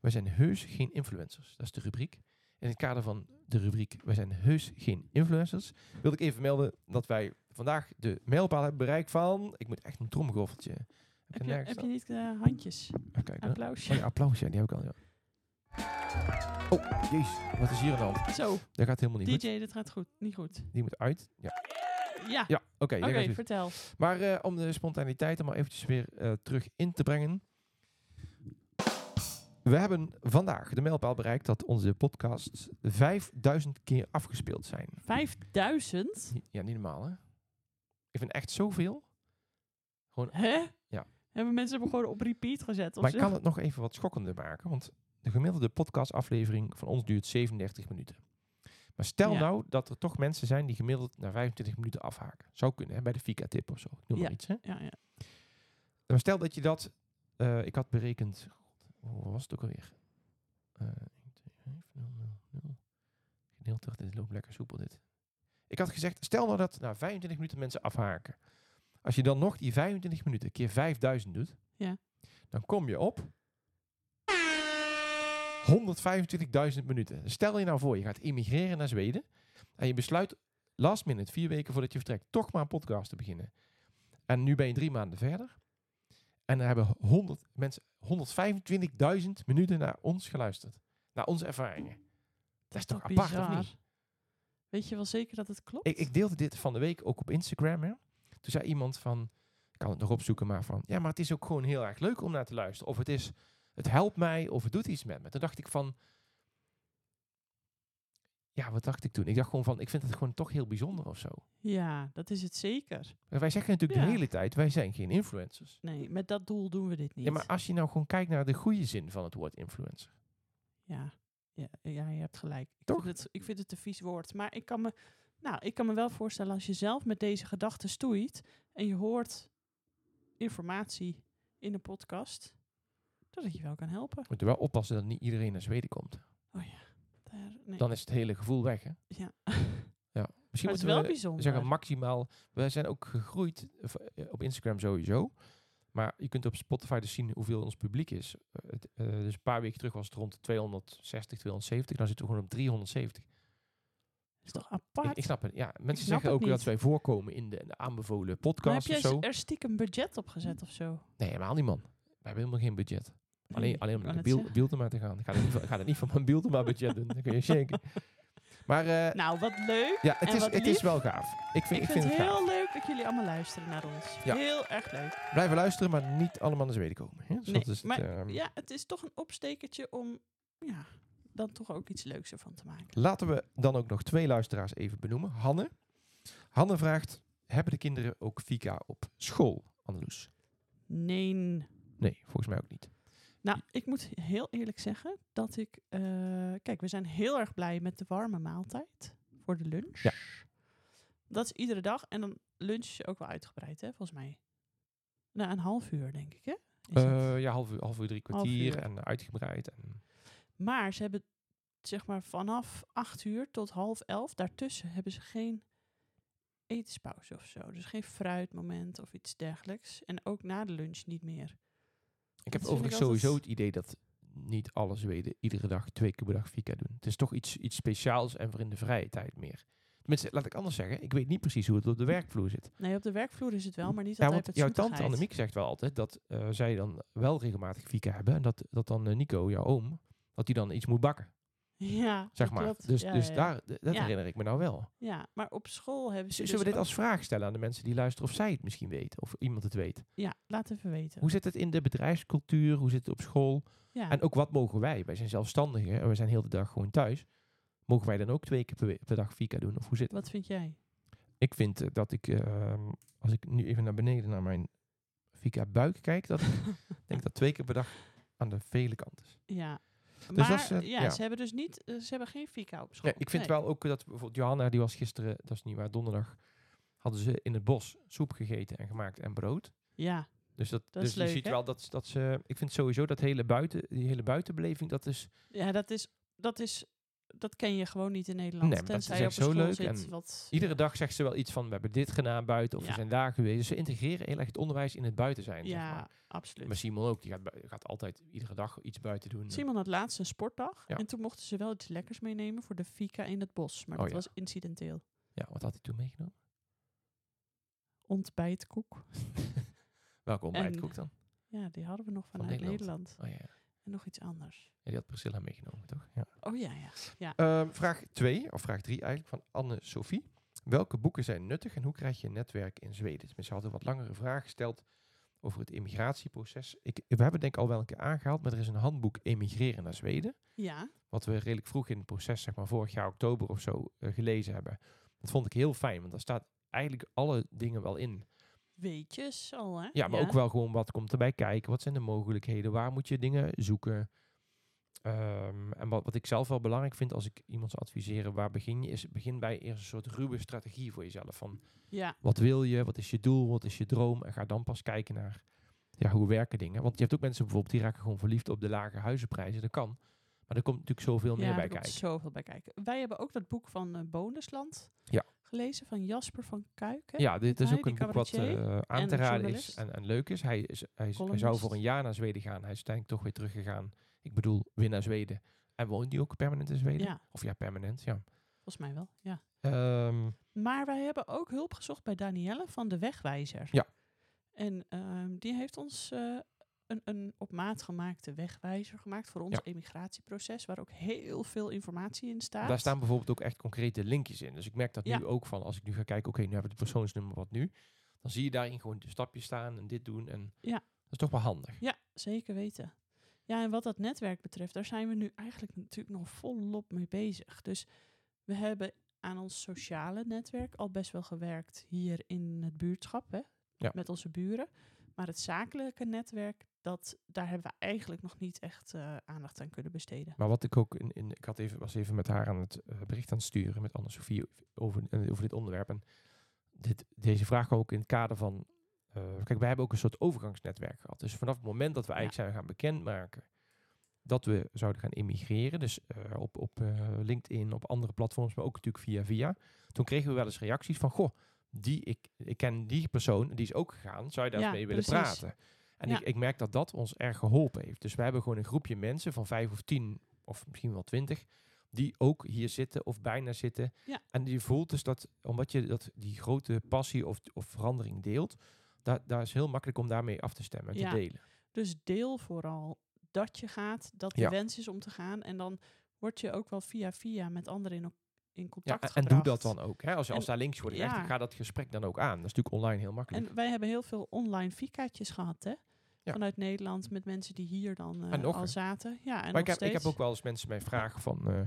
Speaker 2: Wij zijn heus geen influencers. Dat is de rubriek. In het kader van de rubriek Wij zijn heus geen influencers. Wil ik even melden dat wij vandaag de mijlpaal hebben bereikt van. Ik moet echt een tromgoffeltje. Heb, ik
Speaker 1: heb, je,
Speaker 2: nergens
Speaker 1: heb je
Speaker 2: staan?
Speaker 1: niet eh, handjes?
Speaker 2: Ah, kijk, hè.
Speaker 1: Applausje.
Speaker 2: Oh ja, applaus. Ja, die heb ik al. Ja. Oh, jeez. Wat is hier aan de hand?
Speaker 1: Zo,
Speaker 2: Dat gaat helemaal niet goed.
Speaker 1: DJ, dat gaat goed. Niet goed.
Speaker 2: Die moet uit. Ja,
Speaker 1: Ja,
Speaker 2: ja oké. daar
Speaker 1: oké,
Speaker 2: gaat hij.
Speaker 1: vertel.
Speaker 2: Maar eh, om de spontaniteit er maar eventjes weer eh, terug in te brengen. We hebben vandaag de mijlpaal bereikt dat onze podcasts 5000 keer afgespeeld zijn.
Speaker 1: 5000?
Speaker 2: Ja, niet normaal hè? Ik vind echt zoveel.
Speaker 1: Hè?
Speaker 2: Ja.
Speaker 1: Hebben mensen hem gewoon op repeat gezet? Of
Speaker 2: Maar
Speaker 1: zo?
Speaker 2: ik kan het nog even wat schokkender maken, want de gemiddelde podcastaflevering van ons duurt 37 minuten. Maar stel
Speaker 1: Ja.
Speaker 2: nou dat er toch mensen zijn die gemiddeld na 25 minuten afhaken. Zou kunnen, hè? bij de Fika-tip of zo. Ik noem maar iets, hè?
Speaker 1: Ja, ja.
Speaker 2: Maar stel dat je dat... eh, ik had berekend... God, hoe was het ook alweer? Eh 1, 2, 5, 0, 0, 0. Gedeeld door... Dit loopt lekker soepel, dit. Ik had gezegd, stel nou dat na 25 minuten mensen afhaken. Als je dan nog die 25 minuten keer 5000 doet...
Speaker 1: Ja.
Speaker 2: Dan kom je op... 125.000 minuten. Stel je nou voor, je gaat immigreren naar Zweden... en je besluit last minute, vier weken voordat je vertrekt... toch maar een podcast te beginnen. En nu ben je drie maanden verder... En er hebben 100 mensen 125.000 minuten naar ons geluisterd. Naar onze ervaringen. Dat is toch apart, of
Speaker 1: bizar?
Speaker 2: niet?
Speaker 1: Weet je wel zeker dat het klopt?
Speaker 2: Ik, ik deelde dit van de week ook op Instagram. Hè. Toen zei iemand van, ik kan het nog opzoeken, maar van... Ja, maar het is ook gewoon heel erg leuk om naar te luisteren. Of het is, het helpt mij, of het doet iets met me. Toen dacht ik van... Ja, wat dacht ik toen? Ik dacht gewoon van, ik vind het gewoon toch heel bijzonder of zo.
Speaker 1: Ja, dat is het zeker.
Speaker 2: En Wij zeggen natuurlijk de
Speaker 1: Ja.
Speaker 2: hele tijd, wij zijn geen influencers.
Speaker 1: Nee, met dat doel doen we dit niet.
Speaker 2: Ja, maar als je nou gewoon kijkt naar de goede zin van het woord influencer.
Speaker 1: Ja, ja, ja, je hebt gelijk. Ik
Speaker 2: Toch?
Speaker 1: Vind het, ik vind het een vies woord. Maar ik kan, me, nou, ik kan me wel voorstellen als je zelf met deze gedachten stoeit en je hoort informatie in een podcast, dat het je wel kan helpen.
Speaker 2: Moet je wel oppassen dat niet iedereen naar Zweden komt.
Speaker 1: Oh ja, daar, nee.
Speaker 2: Dan is het hele gevoel weg, hè?
Speaker 1: ja.
Speaker 2: Ja.
Speaker 1: Maar
Speaker 2: Misschien
Speaker 1: het is
Speaker 2: moeten
Speaker 1: wel
Speaker 2: we
Speaker 1: bijzonder.
Speaker 2: zeggen maximaal... We zijn ook gegroeid eh, v- eh, op Instagram sowieso. Maar je kunt op Spotify dus zien hoeveel ons publiek is. Eh, het, eh, dus een paar weken terug was het rond de 260, 270. Dan zitten we gewoon op 370.
Speaker 1: is toch
Speaker 2: Ik,
Speaker 1: apart?
Speaker 2: ik snap het. Ja, mensen
Speaker 1: snap
Speaker 2: zeggen
Speaker 1: het
Speaker 2: ook dat
Speaker 1: niet.
Speaker 2: wij voorkomen in de, in de aanbevolen
Speaker 1: maar heb
Speaker 2: podcast of
Speaker 1: jij
Speaker 2: zo.
Speaker 1: er stiekem budget op gezet of zo?
Speaker 2: Nee, helemaal niet, man. We hebben helemaal geen budget. Alleen, alleen om
Speaker 1: ik wou
Speaker 2: naar
Speaker 1: net
Speaker 2: Biel-
Speaker 1: zeggen.
Speaker 2: Bieltema te gaan. Ik ga er niet van- ik ga er niet van mijn Bieltema budget doen. Dat kun je zeker. Maar eh,
Speaker 1: Nou, wat leuk.
Speaker 2: ja, het
Speaker 1: en
Speaker 2: is,
Speaker 1: wat
Speaker 2: het is
Speaker 1: lief.
Speaker 2: wel gaaf. Ik vind,
Speaker 1: ik vind het
Speaker 2: gaaf.
Speaker 1: heel leuk dat jullie allemaal luisteren naar ons.
Speaker 2: Ja.
Speaker 1: Heel erg leuk.
Speaker 2: Blijven luisteren, maar niet allemaal naar Zweden komen. Hè? Dus
Speaker 1: Nee,
Speaker 2: dat is het,
Speaker 1: maar
Speaker 2: ehm,
Speaker 1: Ja, het is toch een opstekertje om ja, dan toch ook iets leuks ervan te maken.
Speaker 2: Laten we dan ook nog twee luisteraars even benoemen. Hanne. Hanne vraagt, hebben de kinderen ook Fika op school, Anneloes?
Speaker 1: Nee.
Speaker 2: Nee, volgens mij ook niet.
Speaker 1: Nou, ik moet heel eerlijk zeggen dat ik. eh, kijk, we zijn heel erg blij met de warme maaltijd voor de lunch.
Speaker 2: Ja.
Speaker 1: Dat is iedere dag. En dan lunch je ook wel uitgebreid, hè, volgens mij. Na een half uur, denk ik, hè? is het.
Speaker 2: Eh, ja, half uur, half uur, drie
Speaker 1: Half
Speaker 2: kwartier
Speaker 1: uur.
Speaker 2: en uitgebreid. En
Speaker 1: Maar ze hebben, zeg maar, vanaf acht uur tot half elf, daartussen hebben ze geen etenspauze of zo. Dus geen fruitmoment of iets dergelijks. En ook na de lunch niet meer.
Speaker 2: ik
Speaker 1: vind
Speaker 2: heb
Speaker 1: ik
Speaker 2: overigens
Speaker 1: altijd-
Speaker 2: sowieso het idee dat niet alle Zweden iedere dag twee keer per dag Fika doen. Het is toch iets, iets speciaals en voor in de vrije tijd meer. Tenminste, laat ik anders zeggen. Ik weet niet precies hoe het op de werkvloer zit.
Speaker 1: Nee, op de werkvloer is het wel, maar niet
Speaker 2: Ja,
Speaker 1: altijd
Speaker 2: want
Speaker 1: met
Speaker 2: jouw tante
Speaker 1: zoetigheid.
Speaker 2: Annemiek zegt wel altijd dat eh, zij dan wel regelmatig Fika hebben. En dat, dat dan eh, Nico, jouw oom, dat hij dan iets moet bakken.
Speaker 1: Ja,
Speaker 2: zeg
Speaker 1: dat
Speaker 2: maar.
Speaker 1: klopt.
Speaker 2: Dus,
Speaker 1: Ja,
Speaker 2: dus
Speaker 1: ja, ja.
Speaker 2: daar, d- dat
Speaker 1: Ja.
Speaker 2: herinner ik me nou wel.
Speaker 1: Ja, maar op school hebben
Speaker 2: Z-
Speaker 1: ze.
Speaker 2: Zullen
Speaker 1: dus
Speaker 2: we dit
Speaker 1: ook-
Speaker 2: als vraag stellen aan de mensen die luisteren of zij het misschien weten? Of iemand het weet?
Speaker 1: Ja, laat even weten.
Speaker 2: Hoe zit het in de bedrijfscultuur? Hoe zit het op school?
Speaker 1: ja.
Speaker 2: En ook wat mogen wij? Wij zijn zelfstandigen en we zijn heel de dag gewoon thuis. Mogen wij dan ook twee keer per, we- per dag Fika doen? Of hoe zit het?
Speaker 1: Wat vind jij?
Speaker 2: Ik vind eh, dat ik, ehm, als ik nu even naar beneden naar mijn Fika buik kijk, dat ik denk dat twee keer per dag aan de vele kant is.
Speaker 1: ja. maar
Speaker 2: dat is, eh,
Speaker 1: ja,
Speaker 2: ja.
Speaker 1: ze hebben dus niet, eh, ze hebben geen fika op school.
Speaker 2: Ja, ik vind
Speaker 1: Nee.
Speaker 2: wel ook dat bijvoorbeeld Johanna, die was gisteren, dat is niet waar, donderdag, hadden ze in het bos soep gegeten en gemaakt en brood.
Speaker 1: Ja,
Speaker 2: Dus, dat,
Speaker 1: Dat is
Speaker 2: dus
Speaker 1: leuk,
Speaker 2: je ziet
Speaker 1: hè?
Speaker 2: wel dat, dat ze, ik vind sowieso dat hele buiten, die hele buitenbeleving, dat is,
Speaker 1: ja dat, is, dat is, dat ken je gewoon niet in
Speaker 2: Nee,
Speaker 1: Nederland.
Speaker 2: maar dat
Speaker 1: tenzij
Speaker 2: is
Speaker 1: je op
Speaker 2: echt
Speaker 1: een
Speaker 2: zo
Speaker 1: school
Speaker 2: leuk
Speaker 1: zit.
Speaker 2: en
Speaker 1: wat,
Speaker 2: iedere dag zegt ze wel iets van, we hebben dit gedaan buiten, of
Speaker 1: Ja.
Speaker 2: we zijn daar geweest. Dus ze integreren heel erg het onderwijs in het buiten zijn, zeg
Speaker 1: ja,
Speaker 2: maar.
Speaker 1: absoluut.
Speaker 2: Maar Simon ook, die gaat, bui- gaat altijd iedere dag iets buiten doen.
Speaker 1: Simon had laatst een sportdag.
Speaker 2: Ja.
Speaker 1: En toen mochten ze wel iets lekkers meenemen voor de fika in het bos. Maar
Speaker 2: Oh,
Speaker 1: dat
Speaker 2: ja.
Speaker 1: was incidenteel.
Speaker 2: Ja, wat had hij toen meegenomen?
Speaker 1: Ontbijtkoek.
Speaker 2: Welke
Speaker 1: En-
Speaker 2: ontbijtkoek dan?
Speaker 1: Ja, die hadden we nog vanuit
Speaker 2: Nederland.
Speaker 1: Nederland.
Speaker 2: Oh ja, ja,
Speaker 1: En nog iets anders.
Speaker 2: die had Priscilla meegenomen, toch? Ja.
Speaker 1: Oh ja, ja. ja.
Speaker 2: Ehm, vraag 2, of vraag 3 eigenlijk, van Anne-Sophie. Welke boeken zijn nuttig en hoe krijg je een netwerk in Zweden? Mensen hadden een wat langere vraag gesteld over het immigratieproces. Ik, we hebben het denk ik al wel een keer aangehaald, maar er is een handboek Emigreren naar Zweden.
Speaker 1: ja.
Speaker 2: Wat we redelijk vroeg in het proces, zeg maar vorig jaar oktober of zo, eh, gelezen hebben. Dat vond ik heel fijn, want daar staat eigenlijk alle dingen wel in.
Speaker 1: Weetjes al, hè?
Speaker 2: Ja, maar ook wel gewoon wat komt erbij kijken. Wat zijn de mogelijkheden? Waar moet je dingen zoeken? Ehm, en wat, wat ik zelf wel belangrijk vind als ik iemand zou adviseren, waar begin je? Is begin bij eerst een soort ruwe strategie voor jezelf. Van
Speaker 1: Ja,
Speaker 2: wat wil je? Wat is je doel? Wat is je droom? En ga dan pas kijken naar ja, hoe werken dingen. Want je hebt ook mensen bijvoorbeeld die raken gewoon verliefd op de lage huizenprijzen. Dat kan. Maar er komt natuurlijk zoveel meer
Speaker 1: ja
Speaker 2: bij
Speaker 1: er komt
Speaker 2: kijken.
Speaker 1: zoveel bij kijken. Wij hebben ook dat boek van eh, Bonusland
Speaker 2: Ja.
Speaker 1: gelezen van Jasper van Kuiken.
Speaker 2: Ja, dit is
Speaker 1: hij,
Speaker 2: ook
Speaker 1: die
Speaker 2: een boek wat
Speaker 1: cabaretier
Speaker 2: eh, aan
Speaker 1: en
Speaker 2: te raden is
Speaker 1: journalist.
Speaker 2: en, en leuk is. Hij, is, hij, is- hij zou
Speaker 1: Columnist.
Speaker 2: voor een jaar naar Zweden gaan. Hij is uiteindelijk toch weer teruggegaan. Ik bedoel, weer naar Zweden. En woont hij ook permanent in Zweden?
Speaker 1: Ja,
Speaker 2: Of ja, permanent, ja.
Speaker 1: volgens mij wel. Ja.
Speaker 2: Ehm,
Speaker 1: Maar wij hebben ook hulp gezocht bij Danielle van de Wegwijzer.
Speaker 2: Ja.
Speaker 1: En ehm, die heeft ons eh, een, een op maat gemaakte wegwijzer gemaakt voor ons
Speaker 2: Ja.
Speaker 1: emigratieproces, waar ook heel veel informatie in staat.
Speaker 2: daar staan bijvoorbeeld ook echt concrete linkjes in. Dus ik merk dat
Speaker 1: Ja.
Speaker 2: nu ook van, als ik nu ga kijken, oké, nu hebben we het persoonsnummer, wat nu? Dan zie je daarin gewoon de stapjes staan en dit doen. En
Speaker 1: Ja.
Speaker 2: dat is toch wel handig.
Speaker 1: Ja, zeker weten. Ja, en wat dat netwerk betreft, daar zijn we nu eigenlijk natuurlijk nog volop mee bezig. Dus we hebben aan ons sociale netwerk al best wel gewerkt hier in het buurtschap, hè,
Speaker 2: Ja.
Speaker 1: met onze buren. Maar het zakelijke netwerk, dat, daar hebben we eigenlijk nog niet echt eh, aandacht aan kunnen besteden.
Speaker 2: Maar wat ik ook in, in ik had even, was even met haar aan het eh, bericht aan het sturen met Anne-Sophie over, eh, over dit onderwerp. En dit, deze vraag kwam ook in het kader van. eh, kijk, wij hebben ook een soort overgangsnetwerk gehad. Dus vanaf het moment dat we eigenlijk zijn gaan bekendmaken dat we zouden gaan immigreren, dus eh, op, op eh, LinkedIn, op andere platforms, maar ook natuurlijk via via, toen kregen we wel eens reacties van: Goh, die, ik, ik ken die persoon, die is ook gegaan, zou je daar eens
Speaker 1: Ja,
Speaker 2: mee willen
Speaker 1: precies.
Speaker 2: praten? En
Speaker 1: Ja.
Speaker 2: ik, ik merk dat dat ons erg geholpen heeft. Dus we hebben gewoon een groepje mensen van vijf of tien, of misschien wel twintig, die ook hier zitten of bijna zitten.
Speaker 1: Ja.
Speaker 2: En die voelt dus dat, omdat je dat, die grote passie of, of verandering deelt, da, daar is heel makkelijk om daarmee af te stemmen en
Speaker 1: Ja.
Speaker 2: te delen.
Speaker 1: Dus deel vooral dat je gaat, dat de
Speaker 2: Ja.
Speaker 1: wens is om te gaan. En dan word je ook wel via via met anderen in, in
Speaker 2: Ja,
Speaker 1: contact
Speaker 2: en, en
Speaker 1: gebracht.
Speaker 2: doe dat dan ook. Hè? Als, je- als
Speaker 1: En-
Speaker 2: daar links wordt rechts,
Speaker 1: ja.
Speaker 2: dan ga dat gesprek dan ook aan. Dat is natuurlijk online heel makkelijk.
Speaker 1: En wij hebben heel veel online fikaatjes gehad, hè?
Speaker 2: Ja.
Speaker 1: Vanuit Nederland met mensen die hier dan eh,
Speaker 2: En nog,
Speaker 1: al
Speaker 2: hè?
Speaker 1: zaten. Ja, en
Speaker 2: maar
Speaker 1: nog
Speaker 2: ik heb, ik
Speaker 1: steeds.
Speaker 2: heb ook wel eens mensen mij vragen van... eh,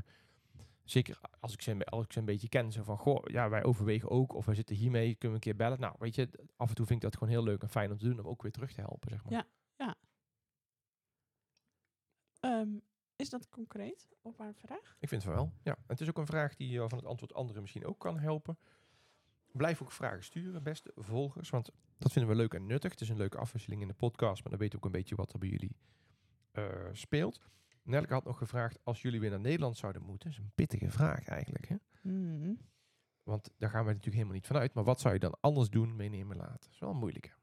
Speaker 2: zeker als ik, ze, een be- als ik ze een beetje ken. Zo van, goh, ja, wij overwegen ook. Of wij zitten hiermee, kunnen we een keer bellen. Nou, weet je, d- af en toe vind ik dat gewoon heel leuk en fijn om te doen. Om ook weer terug te helpen, zeg maar.
Speaker 1: Ja. Ehm, is dat concreet op haar vraag?
Speaker 2: Ik vind het wel. Ja. En het is ook een vraag die eh, van het antwoord anderen misschien ook kan helpen. Blijf ook vragen sturen, beste volgers. Want dat vinden we leuk en nuttig. Het is een leuke afwisseling in de podcast. Maar dan weet ook een beetje wat er bij jullie eh, speelt. Nelke had nog gevraagd, als jullie weer naar Nederland zouden moeten. Dat is een pittige vraag eigenlijk, hè?
Speaker 1: Hmm.
Speaker 2: Want daar gaan we natuurlijk helemaal niet vanuit. Maar wat zou je dan anders doen, meenemen, laten? Dat is wel moeilijk.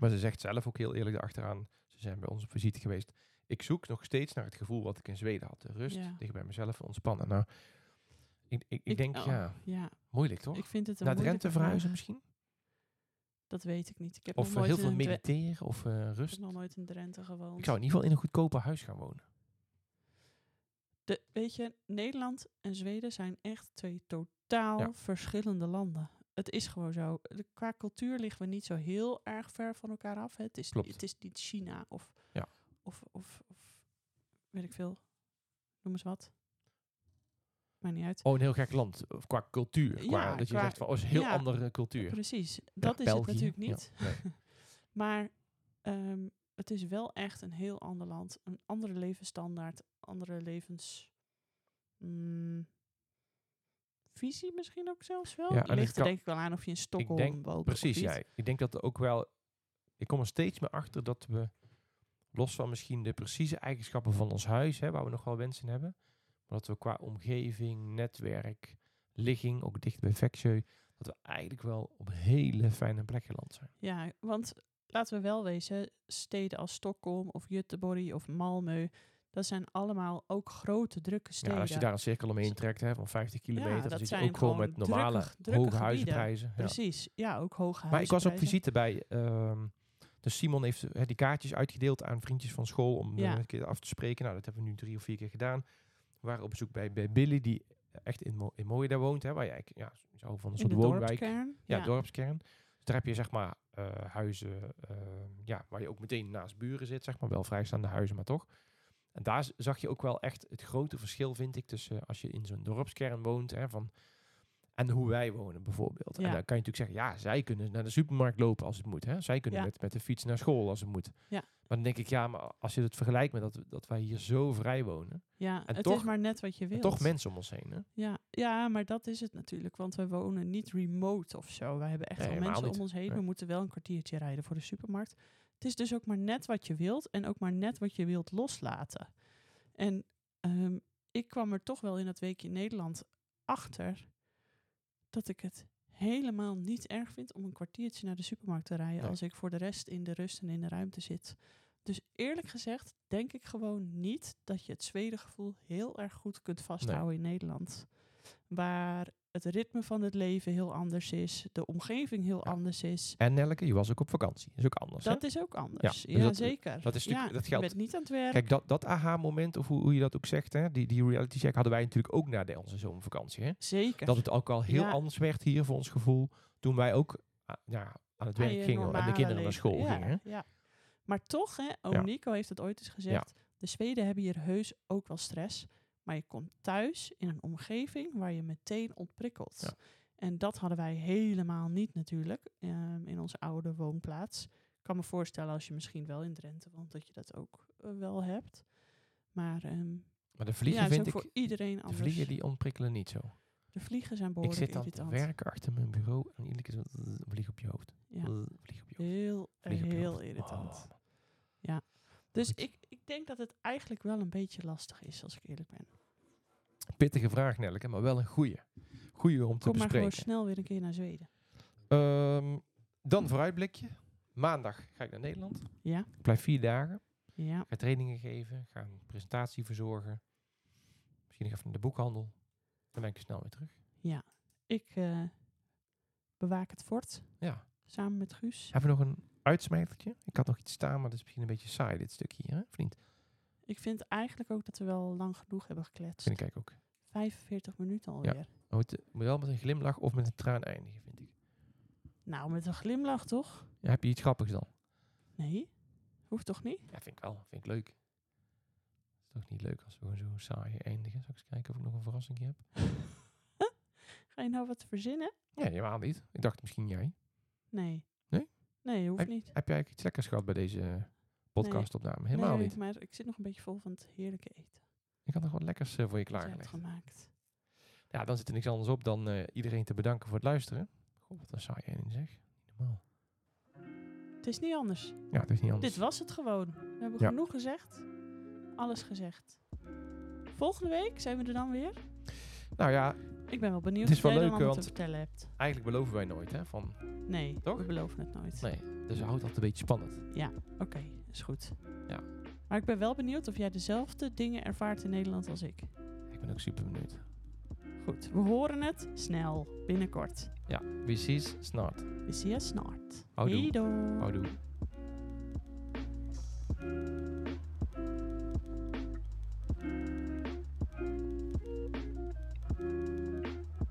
Speaker 2: Maar ze zegt zelf ook heel eerlijk erachteraan. Ze zijn bij ons op visite geweest. Ik zoek nog steeds naar het gevoel wat ik in Zweden had. De rust,
Speaker 1: Ja.
Speaker 2: dicht bij mezelf, ontspannen. Nou, ik, ik, ik,
Speaker 1: Ik-
Speaker 2: denk,
Speaker 1: oh,
Speaker 2: ja,
Speaker 1: Ja,
Speaker 2: moeilijk toch?
Speaker 1: ik vind het een
Speaker 2: naar
Speaker 1: moeilijke
Speaker 2: Drenthe verhuizen
Speaker 1: vraag.
Speaker 2: misschien?
Speaker 1: Dat weet ik niet. Ik heb,
Speaker 2: Of
Speaker 1: nog
Speaker 2: eh,
Speaker 1: nooit
Speaker 2: heel
Speaker 1: in
Speaker 2: veel
Speaker 1: Dre-
Speaker 2: mediteren of eh,
Speaker 1: ik
Speaker 2: rust?
Speaker 1: heb nog nooit in Drenthe gewoond.
Speaker 2: Ik zou in ieder geval in een goedkoper huis gaan wonen.
Speaker 1: De, weet je, Nederland en Zweden zijn echt twee totaal
Speaker 2: Ja.
Speaker 1: verschillende landen. Het is gewoon zo. De- Qua cultuur liggen we niet zo heel erg ver van elkaar af. Hè. Het, is,
Speaker 2: Klopt.
Speaker 1: het is niet China of,
Speaker 2: Ja.
Speaker 1: of, of, of weet ik veel. Noem eens wat. Maakt niet uit.
Speaker 2: Oh, een heel gek land. Of qua cultuur.
Speaker 1: Ja,
Speaker 2: Qua, dat je
Speaker 1: qua-
Speaker 2: zegt, van, oh, is een heel
Speaker 1: ja,
Speaker 2: andere cultuur.
Speaker 1: Precies.
Speaker 2: Ja,
Speaker 1: Dat is
Speaker 2: België,
Speaker 1: het natuurlijk
Speaker 2: ja,
Speaker 1: niet.
Speaker 2: nee.
Speaker 1: Maar ehm, het is wel echt een heel ander land. Een andere levensstandaard, andere levens. mm, visie misschien ook zelfs wel.
Speaker 2: Ja, en het
Speaker 1: Ligt er
Speaker 2: kan-
Speaker 1: denk ik wel aan of je in Stockholm
Speaker 2: denk-
Speaker 1: woont. of
Speaker 2: Precies,
Speaker 1: niet.
Speaker 2: jij. Ik denk dat er ook wel... Ik kom er steeds meer achter dat we, los van misschien de precieze eigenschappen van ons huis, hè, waar we nog wel wensen hebben, maar dat we qua omgeving, netwerk, ligging, ook dicht bij Vexjeu, dat we eigenlijk wel op een hele fijne plek geland zijn.
Speaker 1: Ja, want laten we wel wezen, steden als Stockholm of Göteborg of Malmö, dat zijn allemaal ook grote, drukke steden.
Speaker 2: Ja, als je daar een cirkel omheen trekt hè, van 50 kilometer,
Speaker 1: dat
Speaker 2: dan zit je
Speaker 1: zijn
Speaker 2: ook gewoon
Speaker 1: gewoon
Speaker 2: met normale
Speaker 1: drukke- drukke
Speaker 2: hoge
Speaker 1: gebieden.
Speaker 2: huizenprijzen. Ja.
Speaker 1: Precies, ja, ook hoge
Speaker 2: Maar ik was op
Speaker 1: huizenprijzen.
Speaker 2: visite bij. ehm, dus Simon heeft eh, die kaartjes uitgedeeld aan vriendjes van school om eh,
Speaker 1: Ja.
Speaker 2: een keer af te spreken. Nou, dat hebben we nu drie of vier keer gedaan. We waren op bezoek bij, bij Billy, die echt in, Mo in Mooie daar woont. Hè, waar je eigenlijk ja, zo van een
Speaker 1: In
Speaker 2: soort
Speaker 1: de
Speaker 2: woonwijk.
Speaker 1: dorpskern.
Speaker 2: Ja, dorpskern. Dus daar heb je zeg maar eh, huizen eh, ja, waar je ook meteen naast buren zit. Zeg maar wel vrijstaande huizen, maar toch. En daar z- zag je ook wel echt het grote verschil, vind ik, tussen eh, als je in zo'n dorpskern woont hè, van, en hoe wij wonen bijvoorbeeld. En
Speaker 1: Ja.
Speaker 2: dan kan je natuurlijk zeggen, ja, zij kunnen naar de supermarkt lopen als het moet. Hè. Zij kunnen
Speaker 1: Ja.
Speaker 2: met, met de fiets naar school als het moet.
Speaker 1: Ja.
Speaker 2: Maar dan denk ik, ja, maar als je het vergelijkt met dat, dat wij hier zo vrij wonen.
Speaker 1: ja
Speaker 2: En
Speaker 1: het is
Speaker 2: toch-
Speaker 1: maar net wat je
Speaker 2: en
Speaker 1: wilt.
Speaker 2: toch mensen om ons heen. Hè.
Speaker 1: Ja, ja, maar dat is het natuurlijk. Want we wonen niet remote of zo. We hebben echt
Speaker 2: Nee,
Speaker 1: wel
Speaker 2: helemaal
Speaker 1: mensen om
Speaker 2: niet.
Speaker 1: ons heen.
Speaker 2: Nee.
Speaker 1: We moeten wel een kwartiertje rijden voor de supermarkt. Het is dus ook maar net wat je wilt. En ook maar net wat je wilt loslaten. En ehm, ik kwam er toch wel in dat weekje in Nederland achter... dat ik het helemaal niet erg vind om een kwartiertje naar de supermarkt te rijden...
Speaker 2: Nee.
Speaker 1: als ik voor de rest in de rust en in de ruimte zit. Dus eerlijk gezegd denk ik gewoon niet dat je het Zweden gevoel heel erg goed kunt vasthouden in Nederland waar het ritme van het leven heel anders is, de omgeving heel
Speaker 2: Ja.
Speaker 1: anders is.
Speaker 2: En Nelke, je was ook op vakantie. Dat is ook anders. hè?
Speaker 1: Dat is ook anders.
Speaker 2: Ja,
Speaker 1: Ja,
Speaker 2: dus dat-
Speaker 1: zeker.
Speaker 2: dat is natuurlijk-
Speaker 1: ja,
Speaker 2: dat
Speaker 1: Je
Speaker 2: geldt-
Speaker 1: bent niet aan het werk.
Speaker 2: Kijk, dat, dat aha-moment, of hoe, hoe je dat ook zegt, hè, die, die reality check hadden wij natuurlijk ook na de onze zomervakantie. Hè?
Speaker 1: zeker.
Speaker 2: Dat het ook al heel
Speaker 1: Ja.
Speaker 2: anders werd hier voor ons gevoel, toen wij ook ah, ja, aan het
Speaker 1: Aan
Speaker 2: werk
Speaker 1: je
Speaker 2: gingen en de
Speaker 1: normale
Speaker 2: kinderen naar
Speaker 1: leven.
Speaker 2: school
Speaker 1: ja,
Speaker 2: gingen. hè.
Speaker 1: Ja. Maar toch, hè, oom
Speaker 2: Ja.
Speaker 1: Nico heeft het ooit eens gezegd, de Zweden hebben hier heus ook wel stress, maar je komt thuis in een omgeving waar je meteen ontprikkelt.
Speaker 2: Ja.
Speaker 1: En dat hadden wij helemaal niet natuurlijk ehm, in onze oude woonplaats. Ik kan me voorstellen als je misschien wel in Drenthe woont, dat je dat ook eh, wel hebt. Maar ehm,
Speaker 2: Maar de vliegen
Speaker 1: ja,
Speaker 2: vind
Speaker 1: is ook
Speaker 2: ik,
Speaker 1: voor iedereen
Speaker 2: de
Speaker 1: anders.
Speaker 2: vliegen die ontprikkelen niet zo.
Speaker 1: De vliegen zijn
Speaker 2: Ik
Speaker 1: behoorlijk
Speaker 2: zit dan te
Speaker 1: irritant.
Speaker 2: werken achter mijn bureau en iedere keer zo, "Zzz, vlieg op je hoofd.
Speaker 1: Ja,
Speaker 2: Zzz, Vlieg op je hoofd.
Speaker 1: heel,
Speaker 2: Vlieg op je
Speaker 1: heel
Speaker 2: hoofd.
Speaker 1: irritant.
Speaker 2: Oh, man.
Speaker 1: dus
Speaker 2: goed.
Speaker 1: ik, ik denk dat het eigenlijk wel een beetje lastig is, als ik eerlijk ben.
Speaker 2: Pittige vraag, Nelke, maar wel een goeie. Goeie om te
Speaker 1: Kom maar gewoon
Speaker 2: bespreken.
Speaker 1: snel weer een keer naar Zweden.
Speaker 2: Ehm, dan vooruitblikje. Maandag ga ik naar Nederland.
Speaker 1: Ja,
Speaker 2: Ik blijf vier dagen.
Speaker 1: ja.
Speaker 2: Ga trainingen geven. Ga een presentatie verzorgen. Misschien nog even naar de boekhandel. Dan ben ik snel weer terug.
Speaker 1: Ik eh, bewaak het fort
Speaker 2: Ja.
Speaker 1: samen met Guus.
Speaker 2: Hebben we nog een uitsmijtertje? Ik had nog iets staan, maar dat is misschien een beetje saai dit stukje hier, hè? Of niet?
Speaker 1: Ik vind eigenlijk ook dat we wel lang genoeg hebben gekletst.
Speaker 2: Vind ik eigenlijk ook.
Speaker 1: 45 minuten alweer.
Speaker 2: Maar het eh, moet wel met een glimlach of met een traan eindigen, vind ik.
Speaker 1: Nou, met een glimlach toch?
Speaker 2: Ja, heb je iets grappigs dan?
Speaker 1: Nee, hoeft toch niet?
Speaker 2: Ja, vind ik wel. Vind ik leuk. Het is toch niet leuk als we gewoon zo saai eindigen. Zal ik eens kijken of ik nog een verrassing heb?
Speaker 1: Ga je nou wat verzinnen?
Speaker 2: Ja, helemaal niet. Ik dacht misschien jij.
Speaker 1: Nee.
Speaker 2: Nee?
Speaker 1: Nee, hoeft
Speaker 2: Heb-
Speaker 1: niet.
Speaker 2: Heb jij eigenlijk iets lekkers gehad bij deze podcastopname? Helemaal
Speaker 1: nee,
Speaker 2: niet.
Speaker 1: maar ik zit nog een beetje vol van het heerlijke eten.
Speaker 2: Ik had nog wat lekkers eh, voor je
Speaker 1: dat je hebt
Speaker 2: klaargelegd.
Speaker 1: gemaakt.
Speaker 2: Ja, dan zit er niks anders op dan eh, iedereen te bedanken voor het luisteren. Goh, wat een saai in zeg. Niet Normaal.
Speaker 1: Het is niet anders.
Speaker 2: Ja, het is niet anders.
Speaker 1: Dit was het gewoon. We hebben
Speaker 2: Ja.
Speaker 1: genoeg gezegd. Alles gezegd. Volgende week zijn we er dan weer.
Speaker 2: Nou ja,
Speaker 1: Ik ben wel benieuwd
Speaker 2: Het
Speaker 1: wat
Speaker 2: is
Speaker 1: jij dan
Speaker 2: wel leuk,
Speaker 1: allemaal
Speaker 2: want-
Speaker 1: te vertellen hebt.
Speaker 2: eigenlijk beloven wij nooit, hè? Van,
Speaker 1: Nee,
Speaker 2: Toch?
Speaker 1: we beloven het nooit.
Speaker 2: nee, dus houdt dat een beetje spannend.
Speaker 1: Oké, is goed.
Speaker 2: Ja.
Speaker 1: Maar ik ben wel benieuwd of jij dezelfde dingen ervaart in Nederland als ik.
Speaker 2: Ik ben ook super benieuwd.
Speaker 1: Goed, we horen het snel, binnenkort.
Speaker 2: Ja, we zien snart.
Speaker 1: We zien je snart.
Speaker 2: Houdoe.
Speaker 1: Hey doei.
Speaker 2: Houdoe.